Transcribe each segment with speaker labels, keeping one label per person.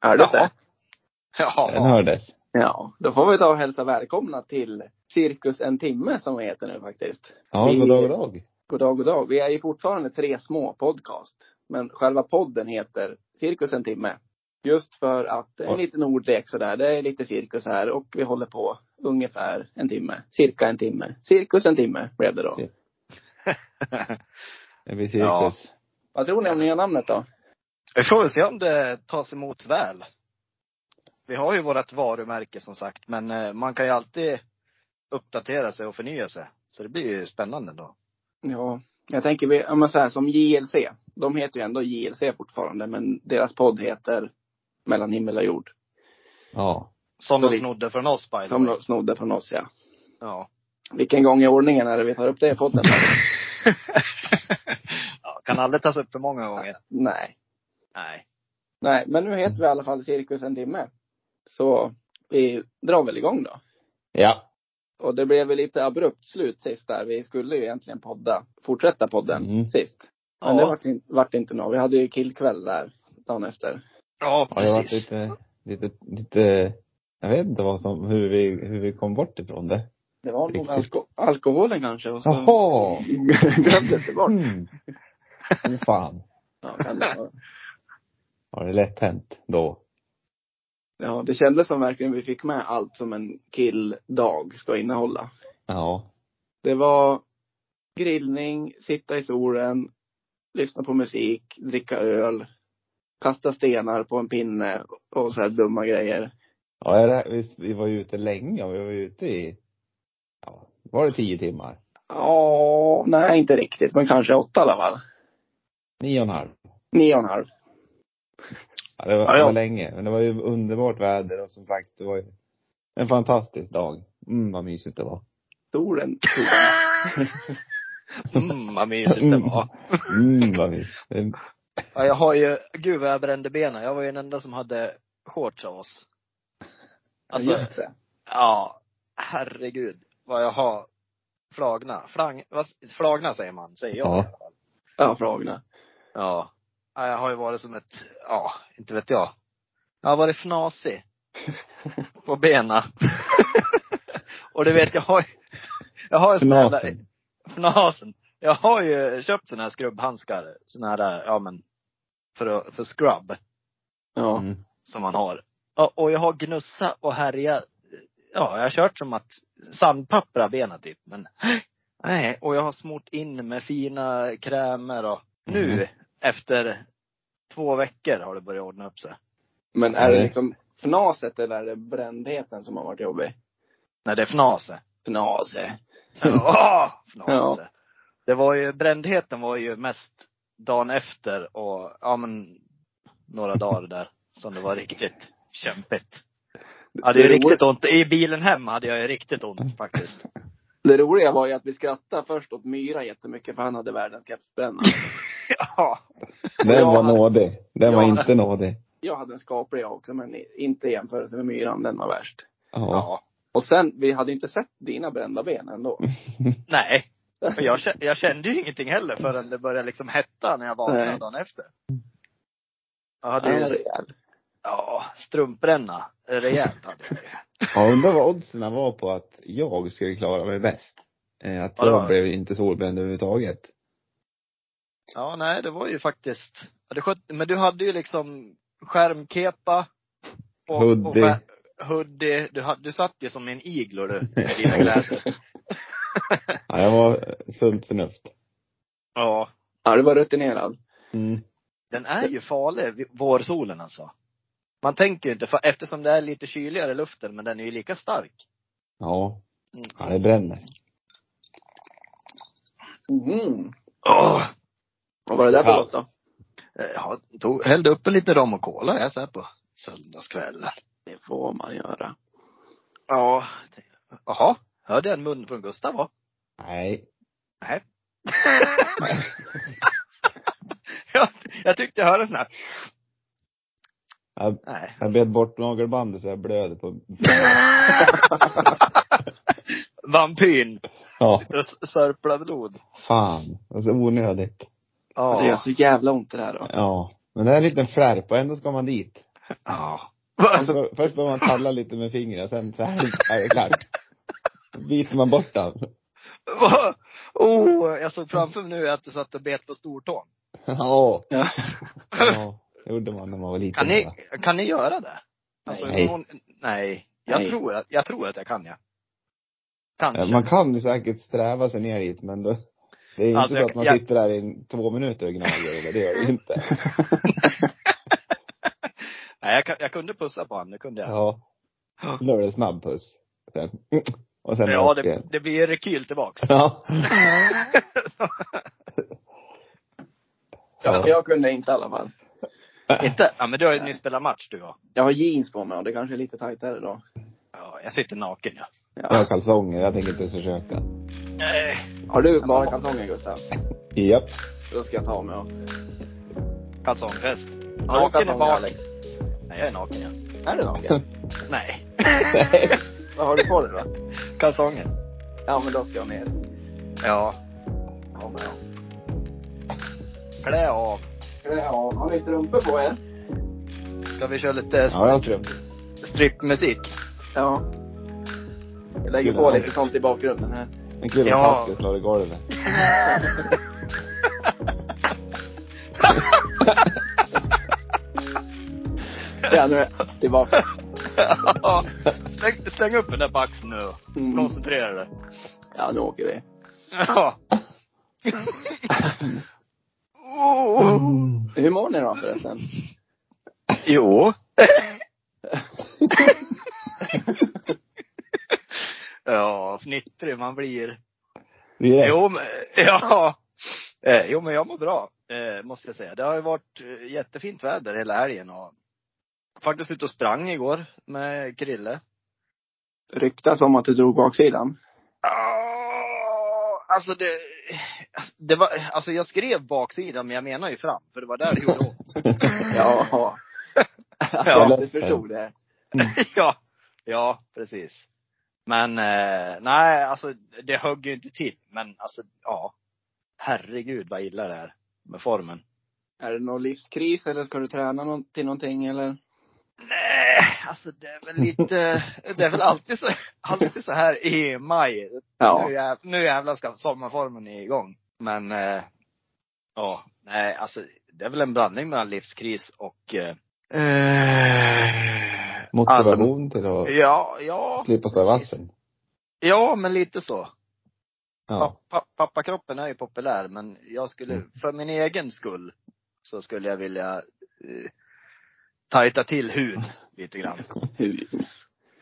Speaker 1: Hördes det?
Speaker 2: Ja.
Speaker 3: Den hördes.
Speaker 1: Ja, då får vi ta och hälsa välkomna till Cirkus en timme som vi heter nu faktiskt.
Speaker 3: Ja,
Speaker 1: Vi-
Speaker 3: god dag, god dag.
Speaker 1: God dag, god dag. Vi är ju fortfarande tre små podcast. Men själva podden heter Cirkus en timme. Just för att det är en liten ordlek sådär. Det är lite cirkus här och vi håller på ungefär en timme. Cirka en timme. Cirkus en timme blev det då.
Speaker 3: Cirkus. Det blir cirkus.
Speaker 1: Vad tror ni om nya namnet då?
Speaker 2: Vi får väl se om det tas emot väl. Vi har ju vårt varumärke som sagt, men eh, man kan ju alltid uppdatera sig och förnya sig. Så det blir ju spännande då.
Speaker 1: Ja, jag tänker vi, om man säger som JLC. De heter ju ändå JLC fortfarande men deras podd heter Mellan himmel och jord.
Speaker 3: Ja.
Speaker 2: Som
Speaker 1: Så
Speaker 2: de
Speaker 1: vi-
Speaker 2: snodde från oss by the
Speaker 1: Som
Speaker 2: way.
Speaker 1: de snodde från oss ja.
Speaker 2: Ja.
Speaker 1: Vilken gång i ordningen är det vi tar upp det i podden?
Speaker 2: ja. Kan aldrig tas upp för många gånger.
Speaker 1: Nej.
Speaker 2: Nej.
Speaker 1: Nej, men nu heter vi i alla fall Cirkus en timme. Så vi drar väl igång då.
Speaker 3: Ja.
Speaker 1: Och det blev väl lite abrupt slut sist där. Vi skulle ju egentligen podda, fortsätta podden
Speaker 3: Mm.
Speaker 1: sist.
Speaker 2: Ja,
Speaker 1: Men det vart, in- vart inte något. Vi hade ju killkväll där dagen efter.
Speaker 2: ja
Speaker 3: ja det har varit
Speaker 2: precis.
Speaker 3: lite, lite, lite, jag vet inte vad som, hur vi, hur vi kom bort ifrån det.
Speaker 1: Det var nog
Speaker 3: Riktigt.
Speaker 1: alko- alkoholen kanske och så
Speaker 3: Jaha!
Speaker 1: glömdes det bort.
Speaker 3: Mm. Fy fan.
Speaker 1: Ja, kan det vara.
Speaker 3: Var det lätt hänt då?
Speaker 1: ja, det kändes som verkligen vi fick med allt som en killdag ska innehålla.
Speaker 3: Ja.
Speaker 1: Det var grillning, sitta i solen, lyssna på musik, dricka öl, kasta stenar på en pinne och så här dumma grejer.
Speaker 3: Ja, är det, vi, vi var ju ute länge, och vi var ju ute i, ja, var det tio timmar?
Speaker 1: Ja, nej inte riktigt, men kanske åtta i alla fall.
Speaker 3: Nio och en halv.
Speaker 1: Nio och en halv.
Speaker 3: Ja, det var,
Speaker 2: Ja, ja.
Speaker 3: det var länge. Men det var ju underbart väder och som sagt, det var ju en fantastisk dag. Mm, vad mysigt det var.
Speaker 1: Solen.
Speaker 2: Mm, vad mysigt det var.
Speaker 3: Mm, vad mysigt. Mm,
Speaker 2: Ja, jag har ju, gud vad jag brände benen. Jag var ju den enda som hade shorts av oss. Alltså,
Speaker 1: Just det.
Speaker 2: ja, herregud vad jag har flagna. Flang, vad, flagna säger man, säger jag.
Speaker 3: Ja.
Speaker 2: Ja.
Speaker 1: Ja, frågorna.
Speaker 2: ja. Ja, jag har ju varit som ett, ja, inte vet jag. Jag har varit fnasig. på benen. Och du vet, jag har ju, jag har ju sån här-
Speaker 3: Fnasen.
Speaker 2: Fnasen. Jag har ju köpt såna här skrubbhandskar. Såna här, ja men, för, att- för scrub.
Speaker 1: Ja.
Speaker 3: Mm.
Speaker 2: som man har. Ja, och jag har gnussa och härja. Ja, jag har kört som att sandpappra benen typ. Men nej, och jag har smort in med fina krämer och nu
Speaker 3: Mhm.
Speaker 2: efter två veckor har det börjat ordna upp sig.
Speaker 1: Men är det
Speaker 3: Nej.
Speaker 1: liksom fnaset eller är det brändheten som har varit jobbig?
Speaker 2: När det är fnase.
Speaker 1: Fnase.
Speaker 2: Åh, fnase.
Speaker 1: Ja.
Speaker 2: Det var ju, brändheten var ju mest dagen efter och ja men några dagar där som det var riktigt kämpigt. Jag hade ju
Speaker 1: Det Mm. är roligt.
Speaker 2: riktigt ont. I bilen hem hade jag ju riktigt ont faktiskt.
Speaker 1: Det roliga var ju att vi skrattade först åt Myra jättemycket för han hade världens kepsbränna.
Speaker 2: Ja.
Speaker 3: Den
Speaker 1: Ja,
Speaker 3: var
Speaker 1: han-
Speaker 3: nådig. Den var
Speaker 1: Ja.
Speaker 3: inte nådig.
Speaker 1: Jag hade en skaplig jag också men inte i jämförelse med Myran, den var värst.
Speaker 3: Ja.
Speaker 2: ja.
Speaker 1: Och sen, vi hade ju inte sett dina brända ben ändå.
Speaker 2: Nej. Och Jag, kä- jag kände ju ingenting heller förrän det började liksom hetta när jag vaknade
Speaker 1: Nej.
Speaker 2: dagen efter. Jag hade ju, ja, strumpränna. Rejält hade jag ju.
Speaker 3: ja undrar vad oddsen var på att jag skulle klara mig bäst. Eh, Att
Speaker 2: Ja, det var-
Speaker 3: jag blev inte solbränd överhuvudtaget.
Speaker 2: Ja, nej, det var ju faktiskt. ja, det skött- Men du hade ju liksom skärmkepa. Och, Och
Speaker 3: Hoodie.
Speaker 2: skär, hoodie. Du, hade- du satt ju som i en iglo du, med dina kläder.
Speaker 3: Ja, jag var sunt förnuft.
Speaker 2: Ja.
Speaker 1: Ja, du var rutinerad.
Speaker 3: Mm.
Speaker 2: Den är ju farlig, vi- vårsolen alltså. Man tänker ju inte, för eftersom det är lite kyligare i luften, men den är ju lika stark.
Speaker 3: Ja.
Speaker 2: Mm.
Speaker 3: Ja, det bränner.
Speaker 1: Mm.
Speaker 2: Åh!
Speaker 1: Vad var det där för
Speaker 3: Ja.
Speaker 1: låt då?
Speaker 2: Jag tog, hällde upp en liten rom och cola jag så här på söndagskvällen.
Speaker 1: Det får man göra.
Speaker 2: Ja. Jaha, hörde jag en mun från Gustav va?
Speaker 3: Nej.
Speaker 2: Nej. jag, jag tyckte jag hörde en sån här.
Speaker 3: Jag,
Speaker 2: Nej.
Speaker 3: jag bet bort nagelbandet så jag blöder på...
Speaker 2: Vampyren.
Speaker 3: Ja.
Speaker 2: Sitter och sörplar blod.
Speaker 3: Fan. Alltså onödigt.
Speaker 1: Det gör
Speaker 2: Ja.
Speaker 1: så jävla ont det där då.
Speaker 3: Ja. Men det är en liten flärp och ändå ska man dit.
Speaker 2: Ja.
Speaker 3: Alltså, först behöver man talla lite med fingrarna, sen så här är det klart. Biter man bort den.
Speaker 2: Va? Oh, jag såg framför mig nu att du satt och bet på stortån.
Speaker 3: Ja.
Speaker 1: Ja.
Speaker 3: Ja, det gjorde man när man var liten.
Speaker 2: Kan ni,
Speaker 3: va?
Speaker 2: kan ni göra det? Alltså,
Speaker 3: Nej.
Speaker 2: Någon, nej. Jag
Speaker 1: Nej.
Speaker 2: tror att, jag tror att jag kan ja. Kanske.
Speaker 3: Ja, Man kan ju säkert sträva sig ner hit, men då, det är ju
Speaker 2: Alltså,
Speaker 3: inte så
Speaker 2: jag-
Speaker 3: att man
Speaker 2: jag-
Speaker 3: sitter där i en- två minuter och gnager, eller det gör det ju inte.
Speaker 2: Nej, jag, kan- jag kunde pussa på honom, det kunde jag.
Speaker 3: Ja. Då är det snabb puss. Sen, och sen
Speaker 2: Ja,
Speaker 3: upp
Speaker 2: det,
Speaker 3: igen.
Speaker 2: det blir ju rekyl tillbaks.
Speaker 3: Ja.
Speaker 1: Ja.
Speaker 3: Ja.
Speaker 1: Jag kunde inte i alla fall.
Speaker 2: Inte? Ja, men du har ju nyss spelat match du och.
Speaker 1: Jag har jeans på mig och det kanske är lite tajtare då.
Speaker 2: Ja, jag sitter naken ja.
Speaker 3: Jag har
Speaker 1: Ja.
Speaker 3: kalsonger, jag tänker inte ens försöka.
Speaker 2: Nej.
Speaker 1: Har du bara kalsonger Gustav?
Speaker 3: Japp.
Speaker 1: Då ska jag ta av mig och...
Speaker 2: Kalsongfest.
Speaker 1: Har du
Speaker 2: Naken är
Speaker 1: kalsonger
Speaker 2: bak.
Speaker 1: Alex?
Speaker 2: Nej, jag är naken ja.
Speaker 1: Är du naken?
Speaker 2: Nej.
Speaker 1: Vad har du på dig då?
Speaker 2: Kalsonger.
Speaker 1: Ja men då ska jag ner.
Speaker 2: Ja. Ja, men ja. Klä av.
Speaker 1: Ja, har ni strumpor på er?
Speaker 2: Ska vi köra lite
Speaker 3: Ja, jag har strumpor.
Speaker 2: strippmusik?
Speaker 1: Ja. Jag lägger på lite sånt i bakgrunden här.
Speaker 3: En kul om
Speaker 2: Ja.
Speaker 3: tasken slår i golvet.
Speaker 1: Ja, nu är jag tillbaka.
Speaker 2: Ja. släng, släng upp den där på axeln nu och
Speaker 1: Mm.
Speaker 2: koncentrera dig.
Speaker 1: Ja, nu åker vi.
Speaker 2: Ja. oh.
Speaker 1: Hur mår ni då förresten?
Speaker 2: Jo. ja, fnittrig man blir.
Speaker 3: Det är
Speaker 2: Jo, men, ja. Eh, Jo, men jag mår bra, eh, måste jag säga. Det har ju varit eh, jättefint väder hela helgen och faktiskt ute och sprang igår med Krille.
Speaker 1: Ryktas om att du drog baksidan.
Speaker 2: Ah, Alltså det, det var, alltså jag skrev baksidan men jag menar ju fram, för det var där det gjorde ont.
Speaker 1: Ja.
Speaker 2: Ja.
Speaker 1: Du förstod det.
Speaker 2: ja, ja, precis. Men eh, nej, alltså det högg ju inte till. Men alltså, ja. Herregud vad illa det är med formen.
Speaker 1: Är det någon livskris eller ska du träna någon, till någonting eller?
Speaker 2: Nej, alltså det är väl lite, det är väl alltid så, alltid så här i maj. Nu,
Speaker 1: Ja.
Speaker 2: jäv, nu jävlar ska sommarformen igång. Men, eh, ja, nej alltså det är väl en blandning mellan livskris och eh, eh,
Speaker 3: motivation till
Speaker 2: all-
Speaker 3: att
Speaker 2: Ja, ja,
Speaker 3: slippa stå i vassen.
Speaker 2: ja men lite så.
Speaker 3: Ja.
Speaker 2: Pa- pa- Pappakroppen är ju populär, men jag skulle,
Speaker 3: Mm.
Speaker 2: för min egen skull, så skulle jag vilja eh, tajta till hud lite grann.
Speaker 1: Hur?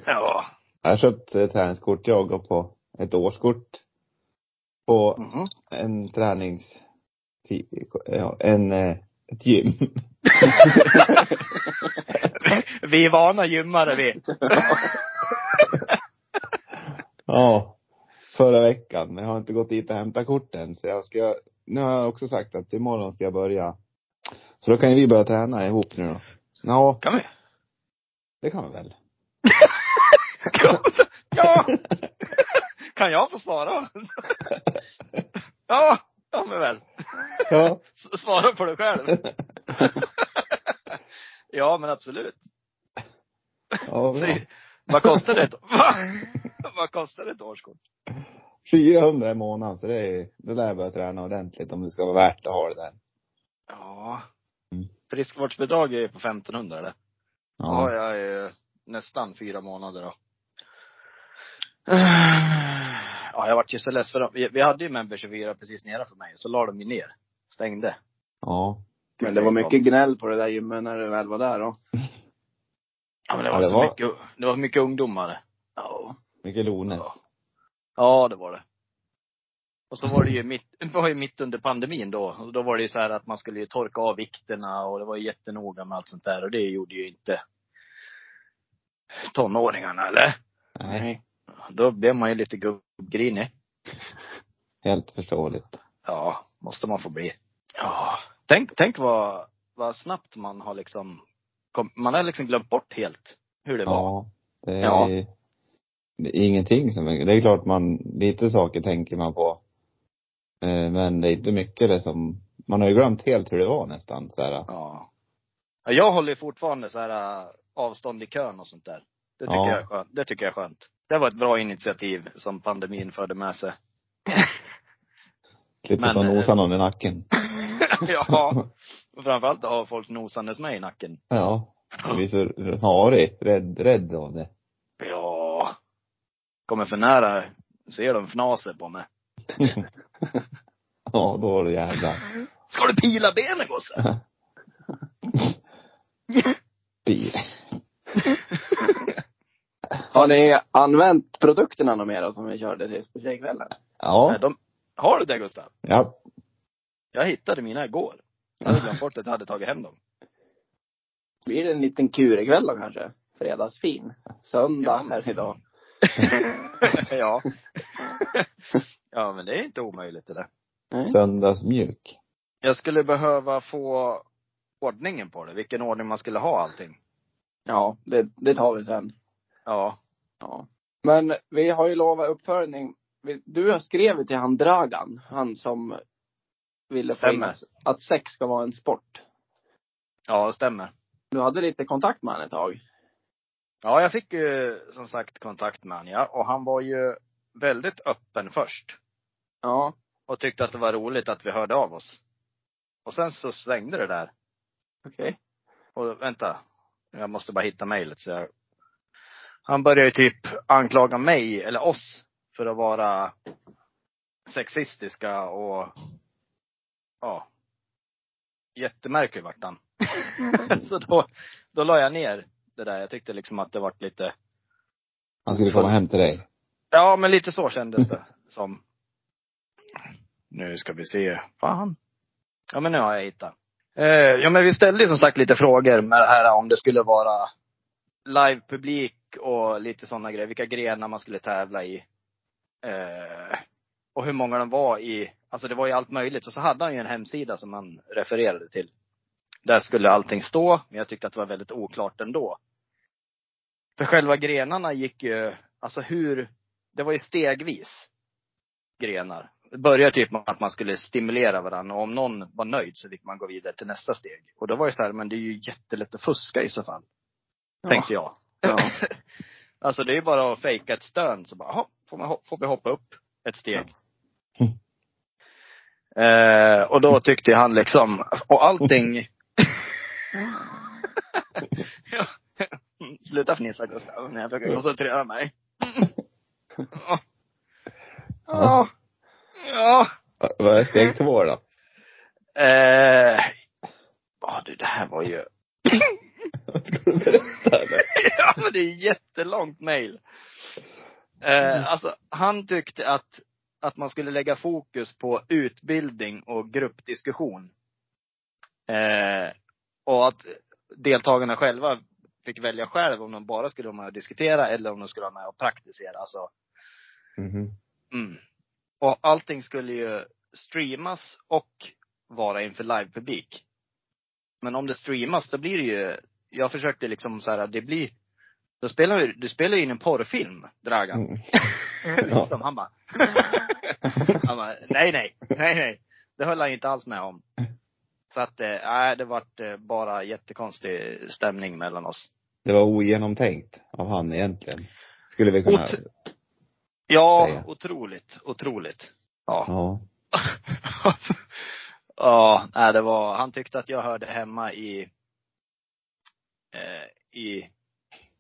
Speaker 2: Ja.
Speaker 3: Jag har köpt eh, träningskort jag och på ett årskort. På
Speaker 2: Mhm.
Speaker 3: en tränings... ti- ja, En, eh, ett gym.
Speaker 2: Vi är vana gymmare vi.
Speaker 3: Ja. Förra veckan. Men jag har inte gått dit och hämtat korten. Så jag ska, nu har jag också sagt att imorgon ska jag börja. Så då kan ju vi börja träna ihop nu då. Ja,
Speaker 2: Kan vi?
Speaker 3: det kan vi väl.
Speaker 2: Ja! Kan jag få svara? Ja, ja men väl.
Speaker 3: Ja.
Speaker 2: S- Svara på dig själv. Ja men absolut.
Speaker 3: Ja, bra.
Speaker 2: Fri- Vad kostar det? ett- Va? Vad kostar ett årskort?
Speaker 3: 400 i månaden, så det är, då lär jag börja träna ordentligt om det ska vara värt att ha det där.
Speaker 2: Ja.
Speaker 3: Mm.
Speaker 2: Friskvårdsbidrag är ju på 1500 eller? Ja, jag är nästan fyra månader då. Ja, jag vart ju så less för dem. Vi vi hade ju Member 24 precis nedanför mig, så la de ju ner. Stängde.
Speaker 3: Ja.
Speaker 1: Men det var mycket gnäll på det där gymmet när du väl var där då.
Speaker 2: Ja, men det
Speaker 3: Ja,
Speaker 2: var,
Speaker 3: det
Speaker 2: så
Speaker 3: var-
Speaker 2: Mycket, det var mycket ungdomar.
Speaker 1: Ja.
Speaker 3: Mycket Lones.
Speaker 2: Ja. Ja, det var det. Och så var det ju mitt, det var ju mitt under pandemin då. Och då var det ju så här att man skulle ju torka av vikterna och det var ju jättenoga med allt sånt där. Och det gjorde ju inte tonåringarna eller?
Speaker 3: Nej,
Speaker 2: Då blev man ju lite gubbgrinig.
Speaker 3: helt förståeligt.
Speaker 2: Ja, måste man få bli. Ja. Tänk, tänk vad, vad snabbt man har liksom, kom, man har liksom glömt bort helt hur det var.
Speaker 3: Ja. Det är,
Speaker 1: Ja.
Speaker 3: det är ingenting som, det är klart man, lite saker tänker man på. Eh, Men det är inte mycket det som, man har ju glömt helt hur det var nästan så här.
Speaker 2: Ja. Ja, Jag håller ju fortfarande så här äh, avstånd i kön och sånt där. Det tycker,
Speaker 3: Ja.
Speaker 2: jag, är skönt. det tycker jag är skönt. Det var ett bra initiativ som pandemin förde med sig.
Speaker 3: Klipper
Speaker 2: Men,
Speaker 3: ta
Speaker 2: eh,
Speaker 3: nosan någon i nacken.
Speaker 2: ja. Och framförallt att ha folk nosandes med i nacken.
Speaker 3: Ja. Jag blir så harig, rädd, rädd av det.
Speaker 2: Ja. Kommer för nära, ser de fnaser på mig.
Speaker 3: Ja, då är det jävla
Speaker 2: Ska du pila benen gosse?
Speaker 3: bi.
Speaker 1: Har ni använt produkterna något mer då, som vi körde sist på tjejkvällen?
Speaker 2: Nej,
Speaker 3: Ja.
Speaker 2: Eh, De, har du det Gustav?
Speaker 3: Ja.
Speaker 2: Jag hittade mina igår. Jag hade glömt bort att jag hade tagit hem dem.
Speaker 1: Blir det en liten kurekväll då kanske? Fredagsfin. Söndag
Speaker 2: Ja.
Speaker 1: här idag.
Speaker 2: ja. ja, men det är inte omöjligt det där.
Speaker 3: Söndagsmjuk.
Speaker 2: Jag skulle behöva få ordningen på det, vilken ordning man skulle ha allting.
Speaker 1: Ja, det, det tar vi sen.
Speaker 2: Ja.
Speaker 1: Ja. Men vi har ju lovat uppföljning. Vi- Du skrev ju till han Dragan, han som ville få in
Speaker 2: Stämmer.
Speaker 1: att sex ska vara en sport.
Speaker 2: Ja, det stämmer.
Speaker 1: Du hade lite kontakt med honom ett tag.
Speaker 2: Ja, jag fick ju som sagt kontakt med honom, ja. Och han var ju väldigt öppen först.
Speaker 1: Ja.
Speaker 2: Och tyckte att det var roligt att vi hörde av oss. Och sen så svängde det där.
Speaker 1: Okej.
Speaker 2: Och vänta, jag måste bara hitta mejlet så jag... Han började ju typ anklaga mig, eller oss, för att vara sexistiska och ja. Jättemärklig vart han. så då, då la jag ner det där. Jag tyckte liksom att det vart lite,
Speaker 3: Han skulle komma hem till dig.
Speaker 2: ja men lite så kändes det som. Nu ska vi se. Fan. Ja men nu har jag hittat. Eh, ja men vi ställde ju som sagt lite frågor med det här om det skulle vara livepublik och lite sådana grejer. Vilka grenar man skulle tävla i. Eh, och hur många de var i. Alltså det var ju allt möjligt. Och så hade han ju en hemsida som han refererade till. Där skulle allting stå, men jag tyckte att det var väldigt oklart ändå. För själva grenarna gick ju, alltså hur, det var ju stegvis grenar. Det började typ med att man skulle stimulera varandra och om någon var nöjd så fick man gå vidare till nästa steg. Och då var det så här, men det är ju jättelätt att fuska i så fall.
Speaker 1: Ja.
Speaker 2: Tänkte jag.
Speaker 1: Ja.
Speaker 2: Alltså det är ju bara att fejka ett stön så bara, "Jaha, får, man, hop- får vi hoppa upp ett steg. Eh, och då tyckte ju han liksom, och allting Ja. Sluta fnissa Gustav, när jag försöker koncentrera mig. Ja. Ja. Ja.
Speaker 3: Va- Vad är steg två då?
Speaker 2: Eh. Ja du, det här var ju
Speaker 3: Ska du berätta eller?
Speaker 2: ja, men det är ett jättelångt mejl. Eh, alltså, han tyckte att, att man skulle lägga fokus på utbildning och gruppdiskussion. Eh, och att deltagarna själva fick välja själv om de bara skulle vara med och diskutera eller om de skulle vara med och praktisera. Alltså,
Speaker 3: Mhm.
Speaker 2: Mm. Och allting skulle ju streamas och vara inför livepublik. Men om det streamas, då blir det ju, jag försökte liksom så här, det blir, då spelar ju, du spelar ju in en porrfilm, Dragan.
Speaker 3: Mm.
Speaker 2: liksom. Han bara, han bara, nej nej, nej nej. Det höll han ju inte alls med om. Så att, eh, nej det vart eh, bara jättekonstig stämning mellan oss.
Speaker 3: Det var ogenomtänkt av han egentligen. Skulle vi kunna
Speaker 2: Ot- Ja,
Speaker 3: Säga.
Speaker 2: otroligt, otroligt. Ja.
Speaker 3: Ja.
Speaker 2: ja, nej, det var, han tyckte att jag hörde hemma i, eh, i,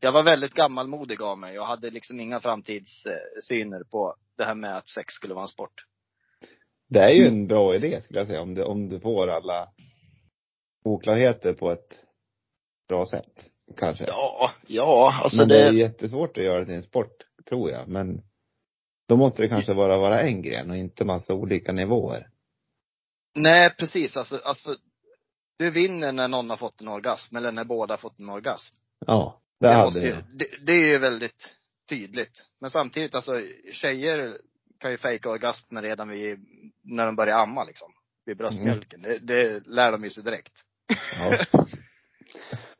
Speaker 2: jag var väldigt gammalmodig av mig. Jag hade liksom inga framtidssyner på det här med att sex skulle vara en sport.
Speaker 3: Det är ju en bra idé skulle jag säga, om du, om du får alla oklarheter på ett bra sätt. Kanske.
Speaker 2: Ja, ja, alltså
Speaker 3: men det...
Speaker 2: det,
Speaker 3: är jättesvårt att göra det till en sport, tror jag. Men då måste det kanske bara vara en gren och inte massa olika nivåer.
Speaker 2: nej precis, alltså, alltså, du vinner när någon har fått en orgasm eller när båda har fått en orgasm.
Speaker 3: Ja. Det,
Speaker 2: Det,
Speaker 3: hade
Speaker 2: måste ju,
Speaker 3: jag.
Speaker 2: det, det är ju väldigt tydligt. Men samtidigt, alltså tjejer kan ju fejka orgasmer redan vid, när de börjar amma liksom. Vid bröstmjölken.
Speaker 3: Mm.
Speaker 2: Det, det lär de ju sig direkt.
Speaker 3: Ja.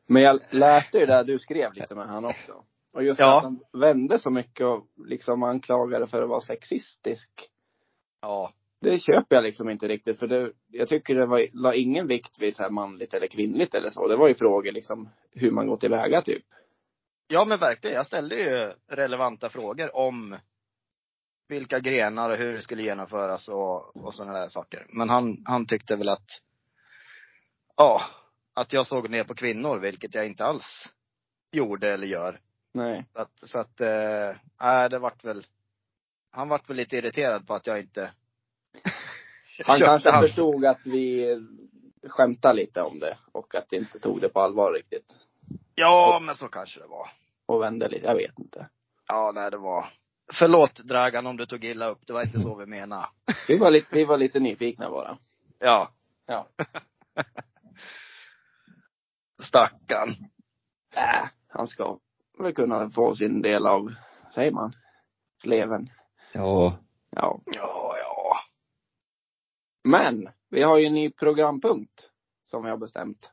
Speaker 1: Men jag läste ju det där du skrev lite med han också. Och just
Speaker 2: Ja.
Speaker 1: att han vände så mycket och liksom anklagade för att vara sexistisk.
Speaker 2: Ja.
Speaker 1: det köper jag liksom inte riktigt. För det, jag tycker det var, la ingen vikt vid så här manligt eller kvinnligt eller så. Det var ju frågor liksom hur man går tillväga typ.
Speaker 2: Ja men verkligen. Jag ställde ju relevanta frågor om vilka grenar och hur det skulle genomföras och, och sådana där saker. Men han, han tyckte väl att, ja, att jag såg ner på kvinnor, vilket jag inte alls gjorde eller gör.
Speaker 1: Nej.
Speaker 2: Så att, så att eh, nej, det vart väl, han vart väl lite irriterad på att jag inte
Speaker 1: Han
Speaker 2: köpte
Speaker 1: kanske
Speaker 2: hans-
Speaker 1: förstod att vi skämtade lite om det och att det inte tog det på allvar riktigt.
Speaker 2: Ja, men så kanske det var.
Speaker 1: Och vände lite, jag vet inte.
Speaker 2: Ja, nej det var. Förlåt Dragan om du tog illa upp, det var inte så vi menade.
Speaker 1: Vi var lite, vi var lite nyfikna bara.
Speaker 2: Ja.
Speaker 1: Ja.
Speaker 2: Stackarn.
Speaker 1: Äh, han ska väl kunna få sin del av, säger man, sleven.
Speaker 3: Ja.
Speaker 1: Ja.
Speaker 2: Ja, ja.
Speaker 1: Men, vi har ju en ny programpunkt som vi har bestämt.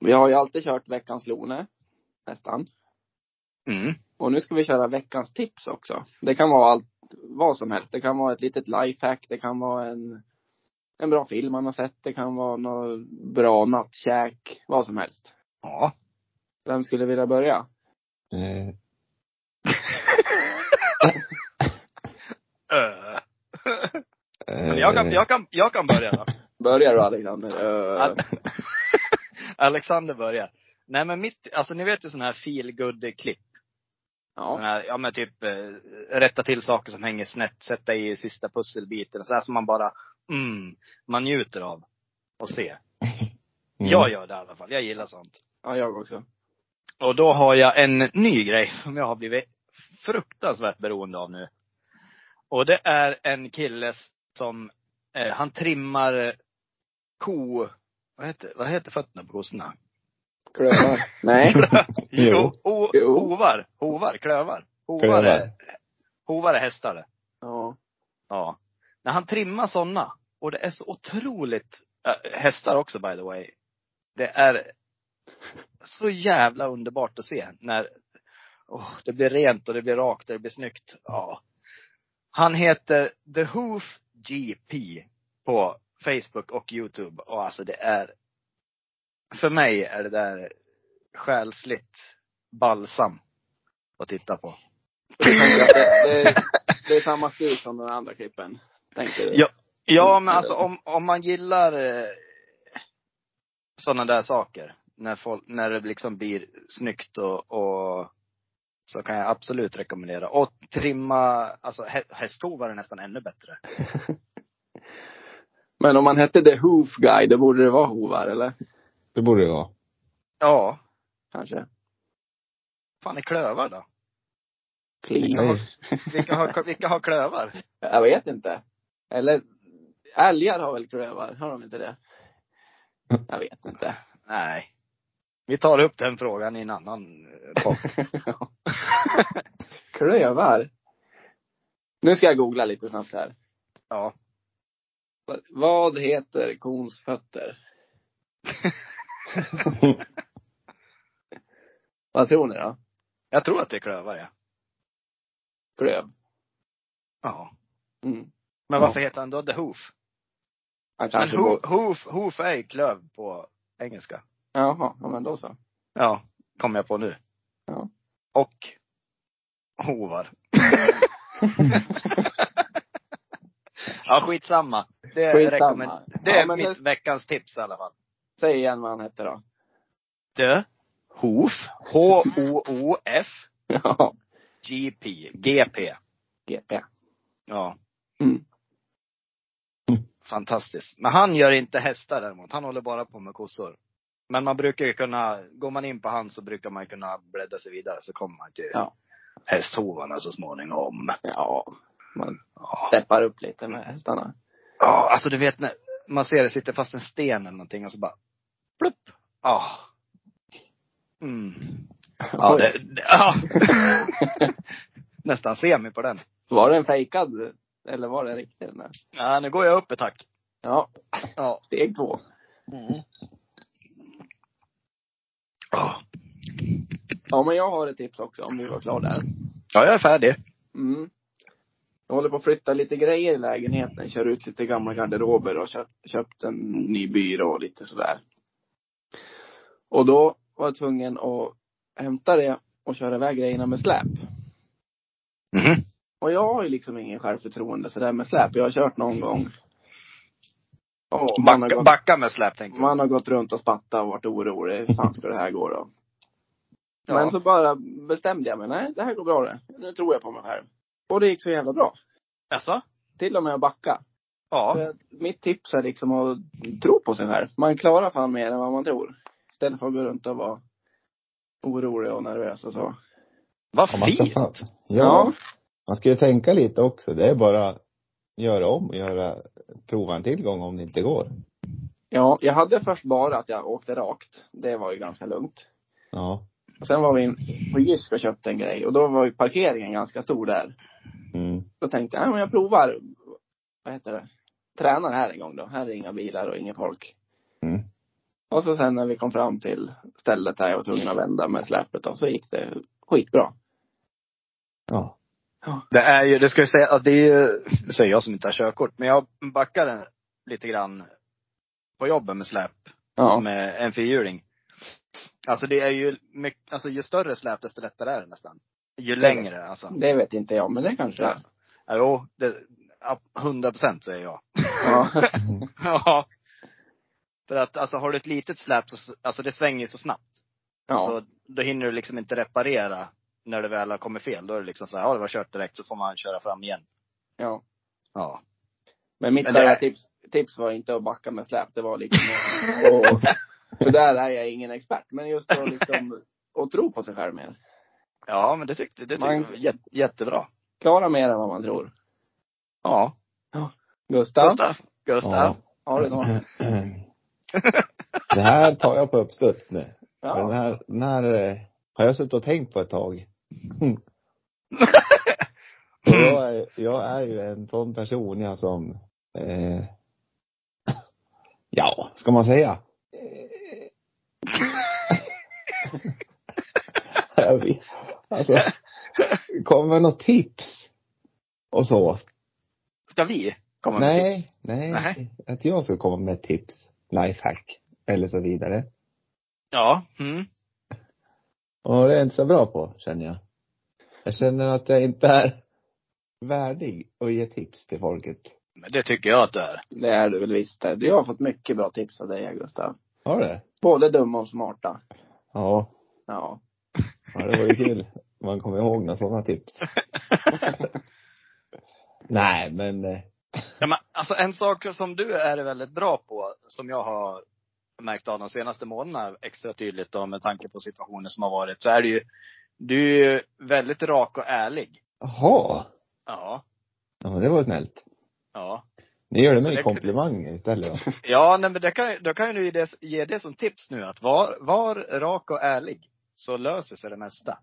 Speaker 1: Vi har ju alltid kört veckans Lone, nästan.
Speaker 2: Mm.
Speaker 1: Och nu ska vi köra veckans tips också. Det kan vara allt, vad som helst. Det kan vara ett litet lifehack, det kan vara en, en bra film man har sett, det kan vara något bra nattkäk, vad som helst.
Speaker 2: Ja.
Speaker 1: Vem skulle vilja börja?
Speaker 3: Eh,
Speaker 2: Ö. Men jag
Speaker 3: eh,
Speaker 2: kan, jag kan, jag kan börja då.
Speaker 1: Börja du Alexander? Uh,
Speaker 2: Al- Alexander börjar. Nej men mitt, alltså ni vet ju sådana här feel good klipp
Speaker 1: ja.
Speaker 2: Såna här, ja men typ eh, rätta till saker som hänger snett, sätta i sista pusselbiten. Så här som man bara, mm, man njuter av och se.
Speaker 3: Mm.
Speaker 2: Jag gör det i alla fall, jag gillar sånt.
Speaker 1: ja, jag också.
Speaker 2: Och då har jag en ny grej som jag har blivit fruktansvärt beroende av nu. Och det är en kille som, eh, han trimmar eh, ko, vad heter, vad heter fötterna på kossorna?
Speaker 1: Klövar? Nej.
Speaker 3: Jo.
Speaker 2: O,
Speaker 1: Jo.
Speaker 2: hovar, hovar, klövar. Hovar
Speaker 3: Klövar.
Speaker 2: är, hovar är hästar det.
Speaker 1: Ja.
Speaker 2: Ja. När han trimmar sådana, och det är så otroligt, äh, hästar också by the way. Det är så jävla underbart att se när åh, det blir rent och det blir rakt och det blir snyggt. Ja. Han heter The Hoof GP på Facebook och Youtube. Och alltså det är, för mig är det där själsligt balsam att titta på.
Speaker 1: Jag tänker att Det, det, det är samma stil som den andra klippen. Tänker du?
Speaker 2: Ja. Ja, men alltså om, om man gillar eh, sådana där saker. När, folk, när det liksom blir snyggt och, och så kan jag absolut rekommendera. Och trimma, alltså hä- hästhovar är nästan ännu bättre.
Speaker 1: Men om man hette The Hoof Guy, då borde det vara hovar, eller?
Speaker 3: Det borde det vara.
Speaker 2: Ja,
Speaker 1: Kanske.
Speaker 2: fan är klövar då?
Speaker 1: Clean.
Speaker 3: Nej.
Speaker 2: Vilka har, vilka har klövar?
Speaker 1: Jag vet inte. Eller, älgar har väl klövar? Har de inte det? Jag vet inte.
Speaker 2: Nej. Vi tar upp den frågan i en annan eh, podd.
Speaker 1: Ja. klövar? Nu ska jag googla lite snabbt här.
Speaker 2: Ja.
Speaker 1: Va- Vad heter kons fötter? Vad tror ni då?
Speaker 2: Jag tror att det är klövar ja.
Speaker 1: Klöv?
Speaker 2: Ja.
Speaker 1: Mm.
Speaker 2: Men
Speaker 3: Ja.
Speaker 2: varför heter han då The Hoof?
Speaker 1: Han
Speaker 2: Men
Speaker 1: kanske
Speaker 2: hoof,
Speaker 1: bor...
Speaker 2: hoof, hoof är ju klöv på engelska.
Speaker 1: Jaha, ja, men då så.
Speaker 2: Ja, kom jag på nu.
Speaker 1: Ja.
Speaker 2: Och hovar. ja, skitsamma. Det,
Speaker 1: Skitsamma.
Speaker 2: rekommend- det är
Speaker 1: Ja, men
Speaker 2: mitt
Speaker 1: det-
Speaker 2: veckans tips i alla fall.
Speaker 1: Säg igen vad han hette då.
Speaker 2: The Hoof. H-O-O-F.
Speaker 1: Ja.
Speaker 2: GP. GP.
Speaker 1: GP.
Speaker 2: Ja.
Speaker 1: Mm.
Speaker 2: Fantastiskt. Men han gör inte hästar däremot. Han håller bara på med kossor. Men man brukar ju kunna, går man in på han så brukar man kunna bläddra sig vidare så kommer man till
Speaker 1: Ja.
Speaker 2: hästhovarna så småningom.
Speaker 1: Ja. Man
Speaker 2: Ja.
Speaker 1: steppar upp lite med hästarna.
Speaker 2: Ja, alltså du vet när man ser det sitter fast en sten eller någonting och så bara plupp. Ja. Mm. Ja,
Speaker 1: Oj.
Speaker 2: det, det, ja. Nästan semi på den.
Speaker 1: Var den fejkad? Eller var den riktig den där?
Speaker 2: Ja, nu går jag upp ett tack.
Speaker 1: Ja,
Speaker 2: Ja.
Speaker 1: steg två.
Speaker 2: Mm. Ja,
Speaker 1: Ja men jag har ett tips också om du var klar där.
Speaker 2: jag är färdig.
Speaker 1: Mm. Jag håller på att flytta lite grejer i lägenheten. Kör ut lite gamla garderober och köpt, köpt en ny byrå och lite sådär. Och då var jag tvungen att hämta det och köra iväg grejerna med släp.
Speaker 2: Mhm.
Speaker 1: Och jag har ju liksom ingen självförtroende sådär med släp. Jag har kört någon gång. Och man, har
Speaker 2: Backa,
Speaker 1: gått,
Speaker 2: backa med släp tänker jag.
Speaker 1: man har gått runt och spattat och varit orolig. Hur fan ska det här gå då?
Speaker 2: Ja.
Speaker 1: Men så bara bestämde jag mig. Nej, det här går bra det. Nu tror jag på mig själv. Och det gick så jävla bra.
Speaker 2: Jaså?
Speaker 1: Till och med att backa. För
Speaker 2: Ja.
Speaker 1: att Mitt tips är liksom att tro på sig själv. Man klarar fan mer än vad man tror. Istället för att gå runt och vara orolig och nervös och så.
Speaker 2: Vad
Speaker 3: Ja, man ska
Speaker 2: fint.
Speaker 3: fan, ja, man ska ju tänka lite också. Det är bara göra om och göra, prova en tillgång om det inte går.
Speaker 1: Ja, jag hade först bara att jag åkte rakt. Det var ju ganska lugnt.
Speaker 3: Ja.
Speaker 1: Och sen var vi in på Jysk och köpte en grej och då var ju parkeringen ganska stor där.
Speaker 3: Mm.
Speaker 1: Då tänkte jag, ja men jag provar. Vad heter det? Tränar här en gång då. Här är inga bilar och inget folk.
Speaker 3: Mm.
Speaker 1: Och så sen när vi kom fram till stället där jag var tvungen att vända med släpet då, så gick det skitbra.
Speaker 3: Ja.
Speaker 2: Det är ju, det ska jag säga, att det är ju, det säger jag som inte har körkort, men jag backade lite grann på jobbet med släp,
Speaker 1: Ja.
Speaker 2: med en fyrhjuling. Alltså det är ju mycket, alltså ju större släp desto lättare är det nästan. Ju längre alltså.
Speaker 1: Det vet inte jag, men det kanske
Speaker 2: Ja.
Speaker 1: är.
Speaker 2: Ja, Jo, det, ja, 100 procent säger jag.
Speaker 1: Ja.
Speaker 3: Mm.
Speaker 2: ja. För att alltså har du ett litet släp så, alltså det svänger ju så snabbt.
Speaker 1: ja.
Speaker 2: Så då hinner du liksom inte reparera när det väl har kommit fel. Då är det liksom så här, ja det var kört direkt, så får man köra fram igen.
Speaker 1: ja.
Speaker 2: Ja.
Speaker 1: Men mitt
Speaker 2: Men det
Speaker 1: bästa
Speaker 2: är-
Speaker 1: tips, tips var inte att backa med släp. Det var liksom och, Så där är jag ingen expert. Men just att liksom, att tro på sig själv mer.
Speaker 2: Ja, men det tyckte, det tyckte
Speaker 1: Man-
Speaker 2: jag var jätte, jättebra.
Speaker 1: Klara mer än vad man tror.
Speaker 2: Ja.
Speaker 1: Gustav,
Speaker 2: Gustav. Gustav.
Speaker 3: ja.
Speaker 1: har du någon?
Speaker 3: Det här tar jag på uppstuds nu. För Den
Speaker 1: Ja.
Speaker 3: här, den här eh, har jag suttit och tänkt på ett tag. Mm. Och jag, är, jag är ju en sån person jag som, eh, ja, ska man säga? Eh, jag vet, alltså, kommer något tips? Och så.
Speaker 2: Ska vi komma med
Speaker 3: Nej,
Speaker 2: tips?
Speaker 3: nej,
Speaker 2: Nej.
Speaker 3: Att jag ska komma med tips, lifehack eller så vidare.
Speaker 2: Ja. Mm.
Speaker 3: Och det är jag inte så bra på, känner jag. Jag känner att jag inte är värdig att ge tips till folket.
Speaker 2: Men det tycker jag att du är.
Speaker 1: Det är du väl visst. det. Du har fått mycket bra tips av dig, Gustav.
Speaker 3: Har du det?
Speaker 1: Både dumma och smarta.
Speaker 3: Ja.
Speaker 1: Ja.
Speaker 3: Ja, det var ju kul. Man kommer ihåg några sådana tips. Nej, men eh,
Speaker 2: Ja, men, alltså en sak som du är väldigt bra på, som jag har märkt av de senaste månaderna extra tydligt då, med tanke på situationer som har varit, så är du ju, du är ju väldigt rak och ärlig.
Speaker 3: jaha.
Speaker 2: Ja.
Speaker 3: Ja, men det var snällt.
Speaker 2: Ja.
Speaker 3: Ni gör det
Speaker 2: Så
Speaker 3: mig
Speaker 2: det-
Speaker 3: komplimanger istället. då.
Speaker 2: Ja, nej, men det kan, ju- då kan ju du ge det, ge det som tips nu att var, var rak och ärlig. Så löser sig det mesta.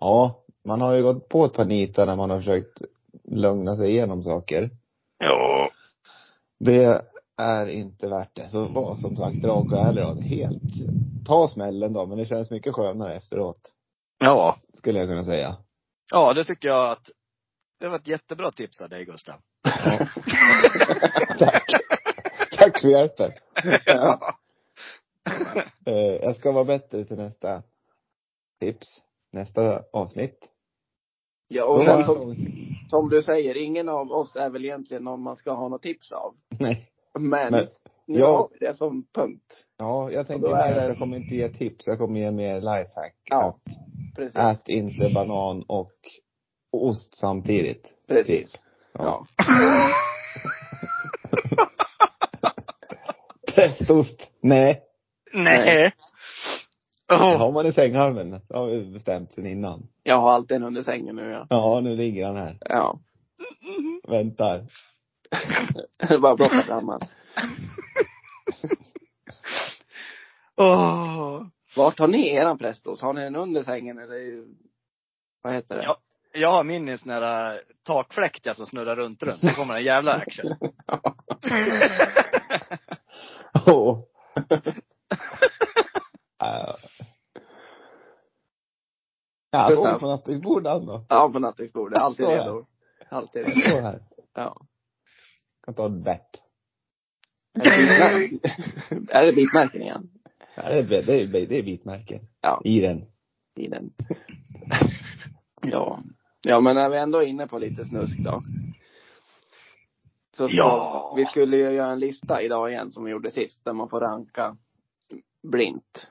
Speaker 3: Ja, man har ju gått på ett par nitar när man har försökt lugna sig igenom saker.
Speaker 2: Ja.
Speaker 3: Det är inte värt det. Så
Speaker 1: Mm.
Speaker 3: var som sagt rak och ärlig då. Helt, ta smällen då, men det känns mycket skönare efteråt.
Speaker 2: Ja.
Speaker 3: Skulle jag kunna säga.
Speaker 2: Ja, det tycker jag att det var ett jättebra tips av dig Gustav.
Speaker 3: Ja. Tack. Tack för hjälpen.
Speaker 1: Ja.
Speaker 3: Eh, jag ska vara bättre till nästa tips. Nästa avsnitt.
Speaker 1: ja
Speaker 3: Då
Speaker 1: och sen
Speaker 3: var-
Speaker 1: som, som du säger, ingen av oss är väl egentligen någon man ska ha något tips av.
Speaker 3: Nej.
Speaker 1: Men,
Speaker 3: Men-
Speaker 1: nu
Speaker 3: Ja.
Speaker 1: har vi det som punkt.
Speaker 3: Ja, jag tänker
Speaker 1: Då
Speaker 3: mer
Speaker 1: är
Speaker 3: att
Speaker 1: det-
Speaker 3: jag kommer inte ge tips. Jag kommer ge mer lifehack.
Speaker 1: Ja.
Speaker 3: Att
Speaker 1: Precis.
Speaker 3: ät inte banan och ost samtidigt.
Speaker 1: Precis.
Speaker 3: Typ.
Speaker 1: Ja.
Speaker 3: Prästost. Nej.
Speaker 1: Nej.
Speaker 3: Det
Speaker 2: Åh,
Speaker 3: har man i sänghalmen. Det har vi bestämt sen innan.
Speaker 1: Jag har alltid en under sängen nu ja.
Speaker 3: Ja, nu ligger han här.
Speaker 1: Ja.
Speaker 3: Väntar.
Speaker 1: Det är bara att plocka fram han.
Speaker 2: åh.
Speaker 1: Vart har ni eran prästost? Har ni den under sängen eller? i- Vad heter det?
Speaker 2: Ja. Jag har min i sån här äh, takfläkt jag som snurrar runt runt. Då kommer en jävla
Speaker 3: Mm.
Speaker 2: action.
Speaker 3: Åh. Eh. Ja, såg man att det bor den då?
Speaker 1: Ja, på nattduksbordet. Alltid
Speaker 3: Så, ja.
Speaker 1: redo. Alltid
Speaker 3: Jag
Speaker 1: rätt.
Speaker 3: står här.
Speaker 1: Ja.
Speaker 3: Kan ta ett bett.
Speaker 1: Är det bitmärken? är det bitmärken igen?
Speaker 3: Ja, det är, bra. det är, det är bitmärken.
Speaker 1: Ja.
Speaker 3: I den.
Speaker 1: I den. Ja. Ja, men när vi ändå är inne på lite snusk då. Så ska,
Speaker 2: Ja.
Speaker 1: vi skulle ju göra en lista idag igen som vi gjorde sist, där man får ranka blint.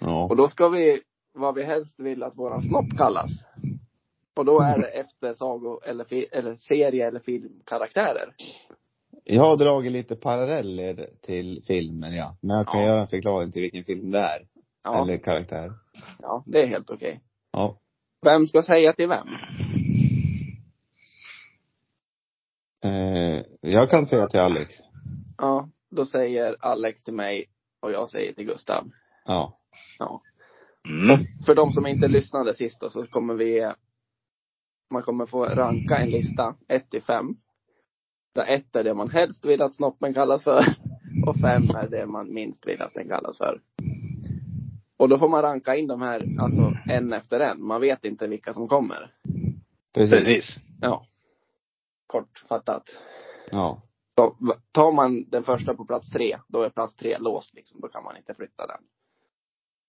Speaker 1: Och
Speaker 3: Ja.
Speaker 1: då ska vi, vad vi helst vill att våran snopp kallas. Och då är det efter sago eller, fi, eller serie eller filmkaraktärer.
Speaker 3: Jag har dragit lite paralleller till filmen, ja. Men jag kan
Speaker 1: Ja.
Speaker 3: göra en förklaring till vilken film det är.
Speaker 1: Ja,
Speaker 3: Eller karaktär.
Speaker 1: ja det är helt okej.
Speaker 3: Ja.
Speaker 1: Vem ska säga till vem?
Speaker 3: Eh, jag kan säga till Alex.
Speaker 1: Ja, då säger Alex till mig och jag säger till Gustav.
Speaker 3: Ja.
Speaker 1: Ja.
Speaker 2: Mm.
Speaker 1: För de som inte lyssnade sist då, så kommer vi, man kommer få ranka en lista, 1 till 5. Där 1 är det man helst vill att snoppen kallas för och 5 är det man minst vill att den kallas för. Och då får man ranka in de här, alltså en efter en. Man vet inte vilka som kommer.
Speaker 3: Precis.
Speaker 2: Precis.
Speaker 1: Ja. Kortfattat.
Speaker 2: typ.
Speaker 3: Ja.
Speaker 1: Så v- tar man den första på plats tre, då är plats tre låst liksom. Då kan man inte flytta den.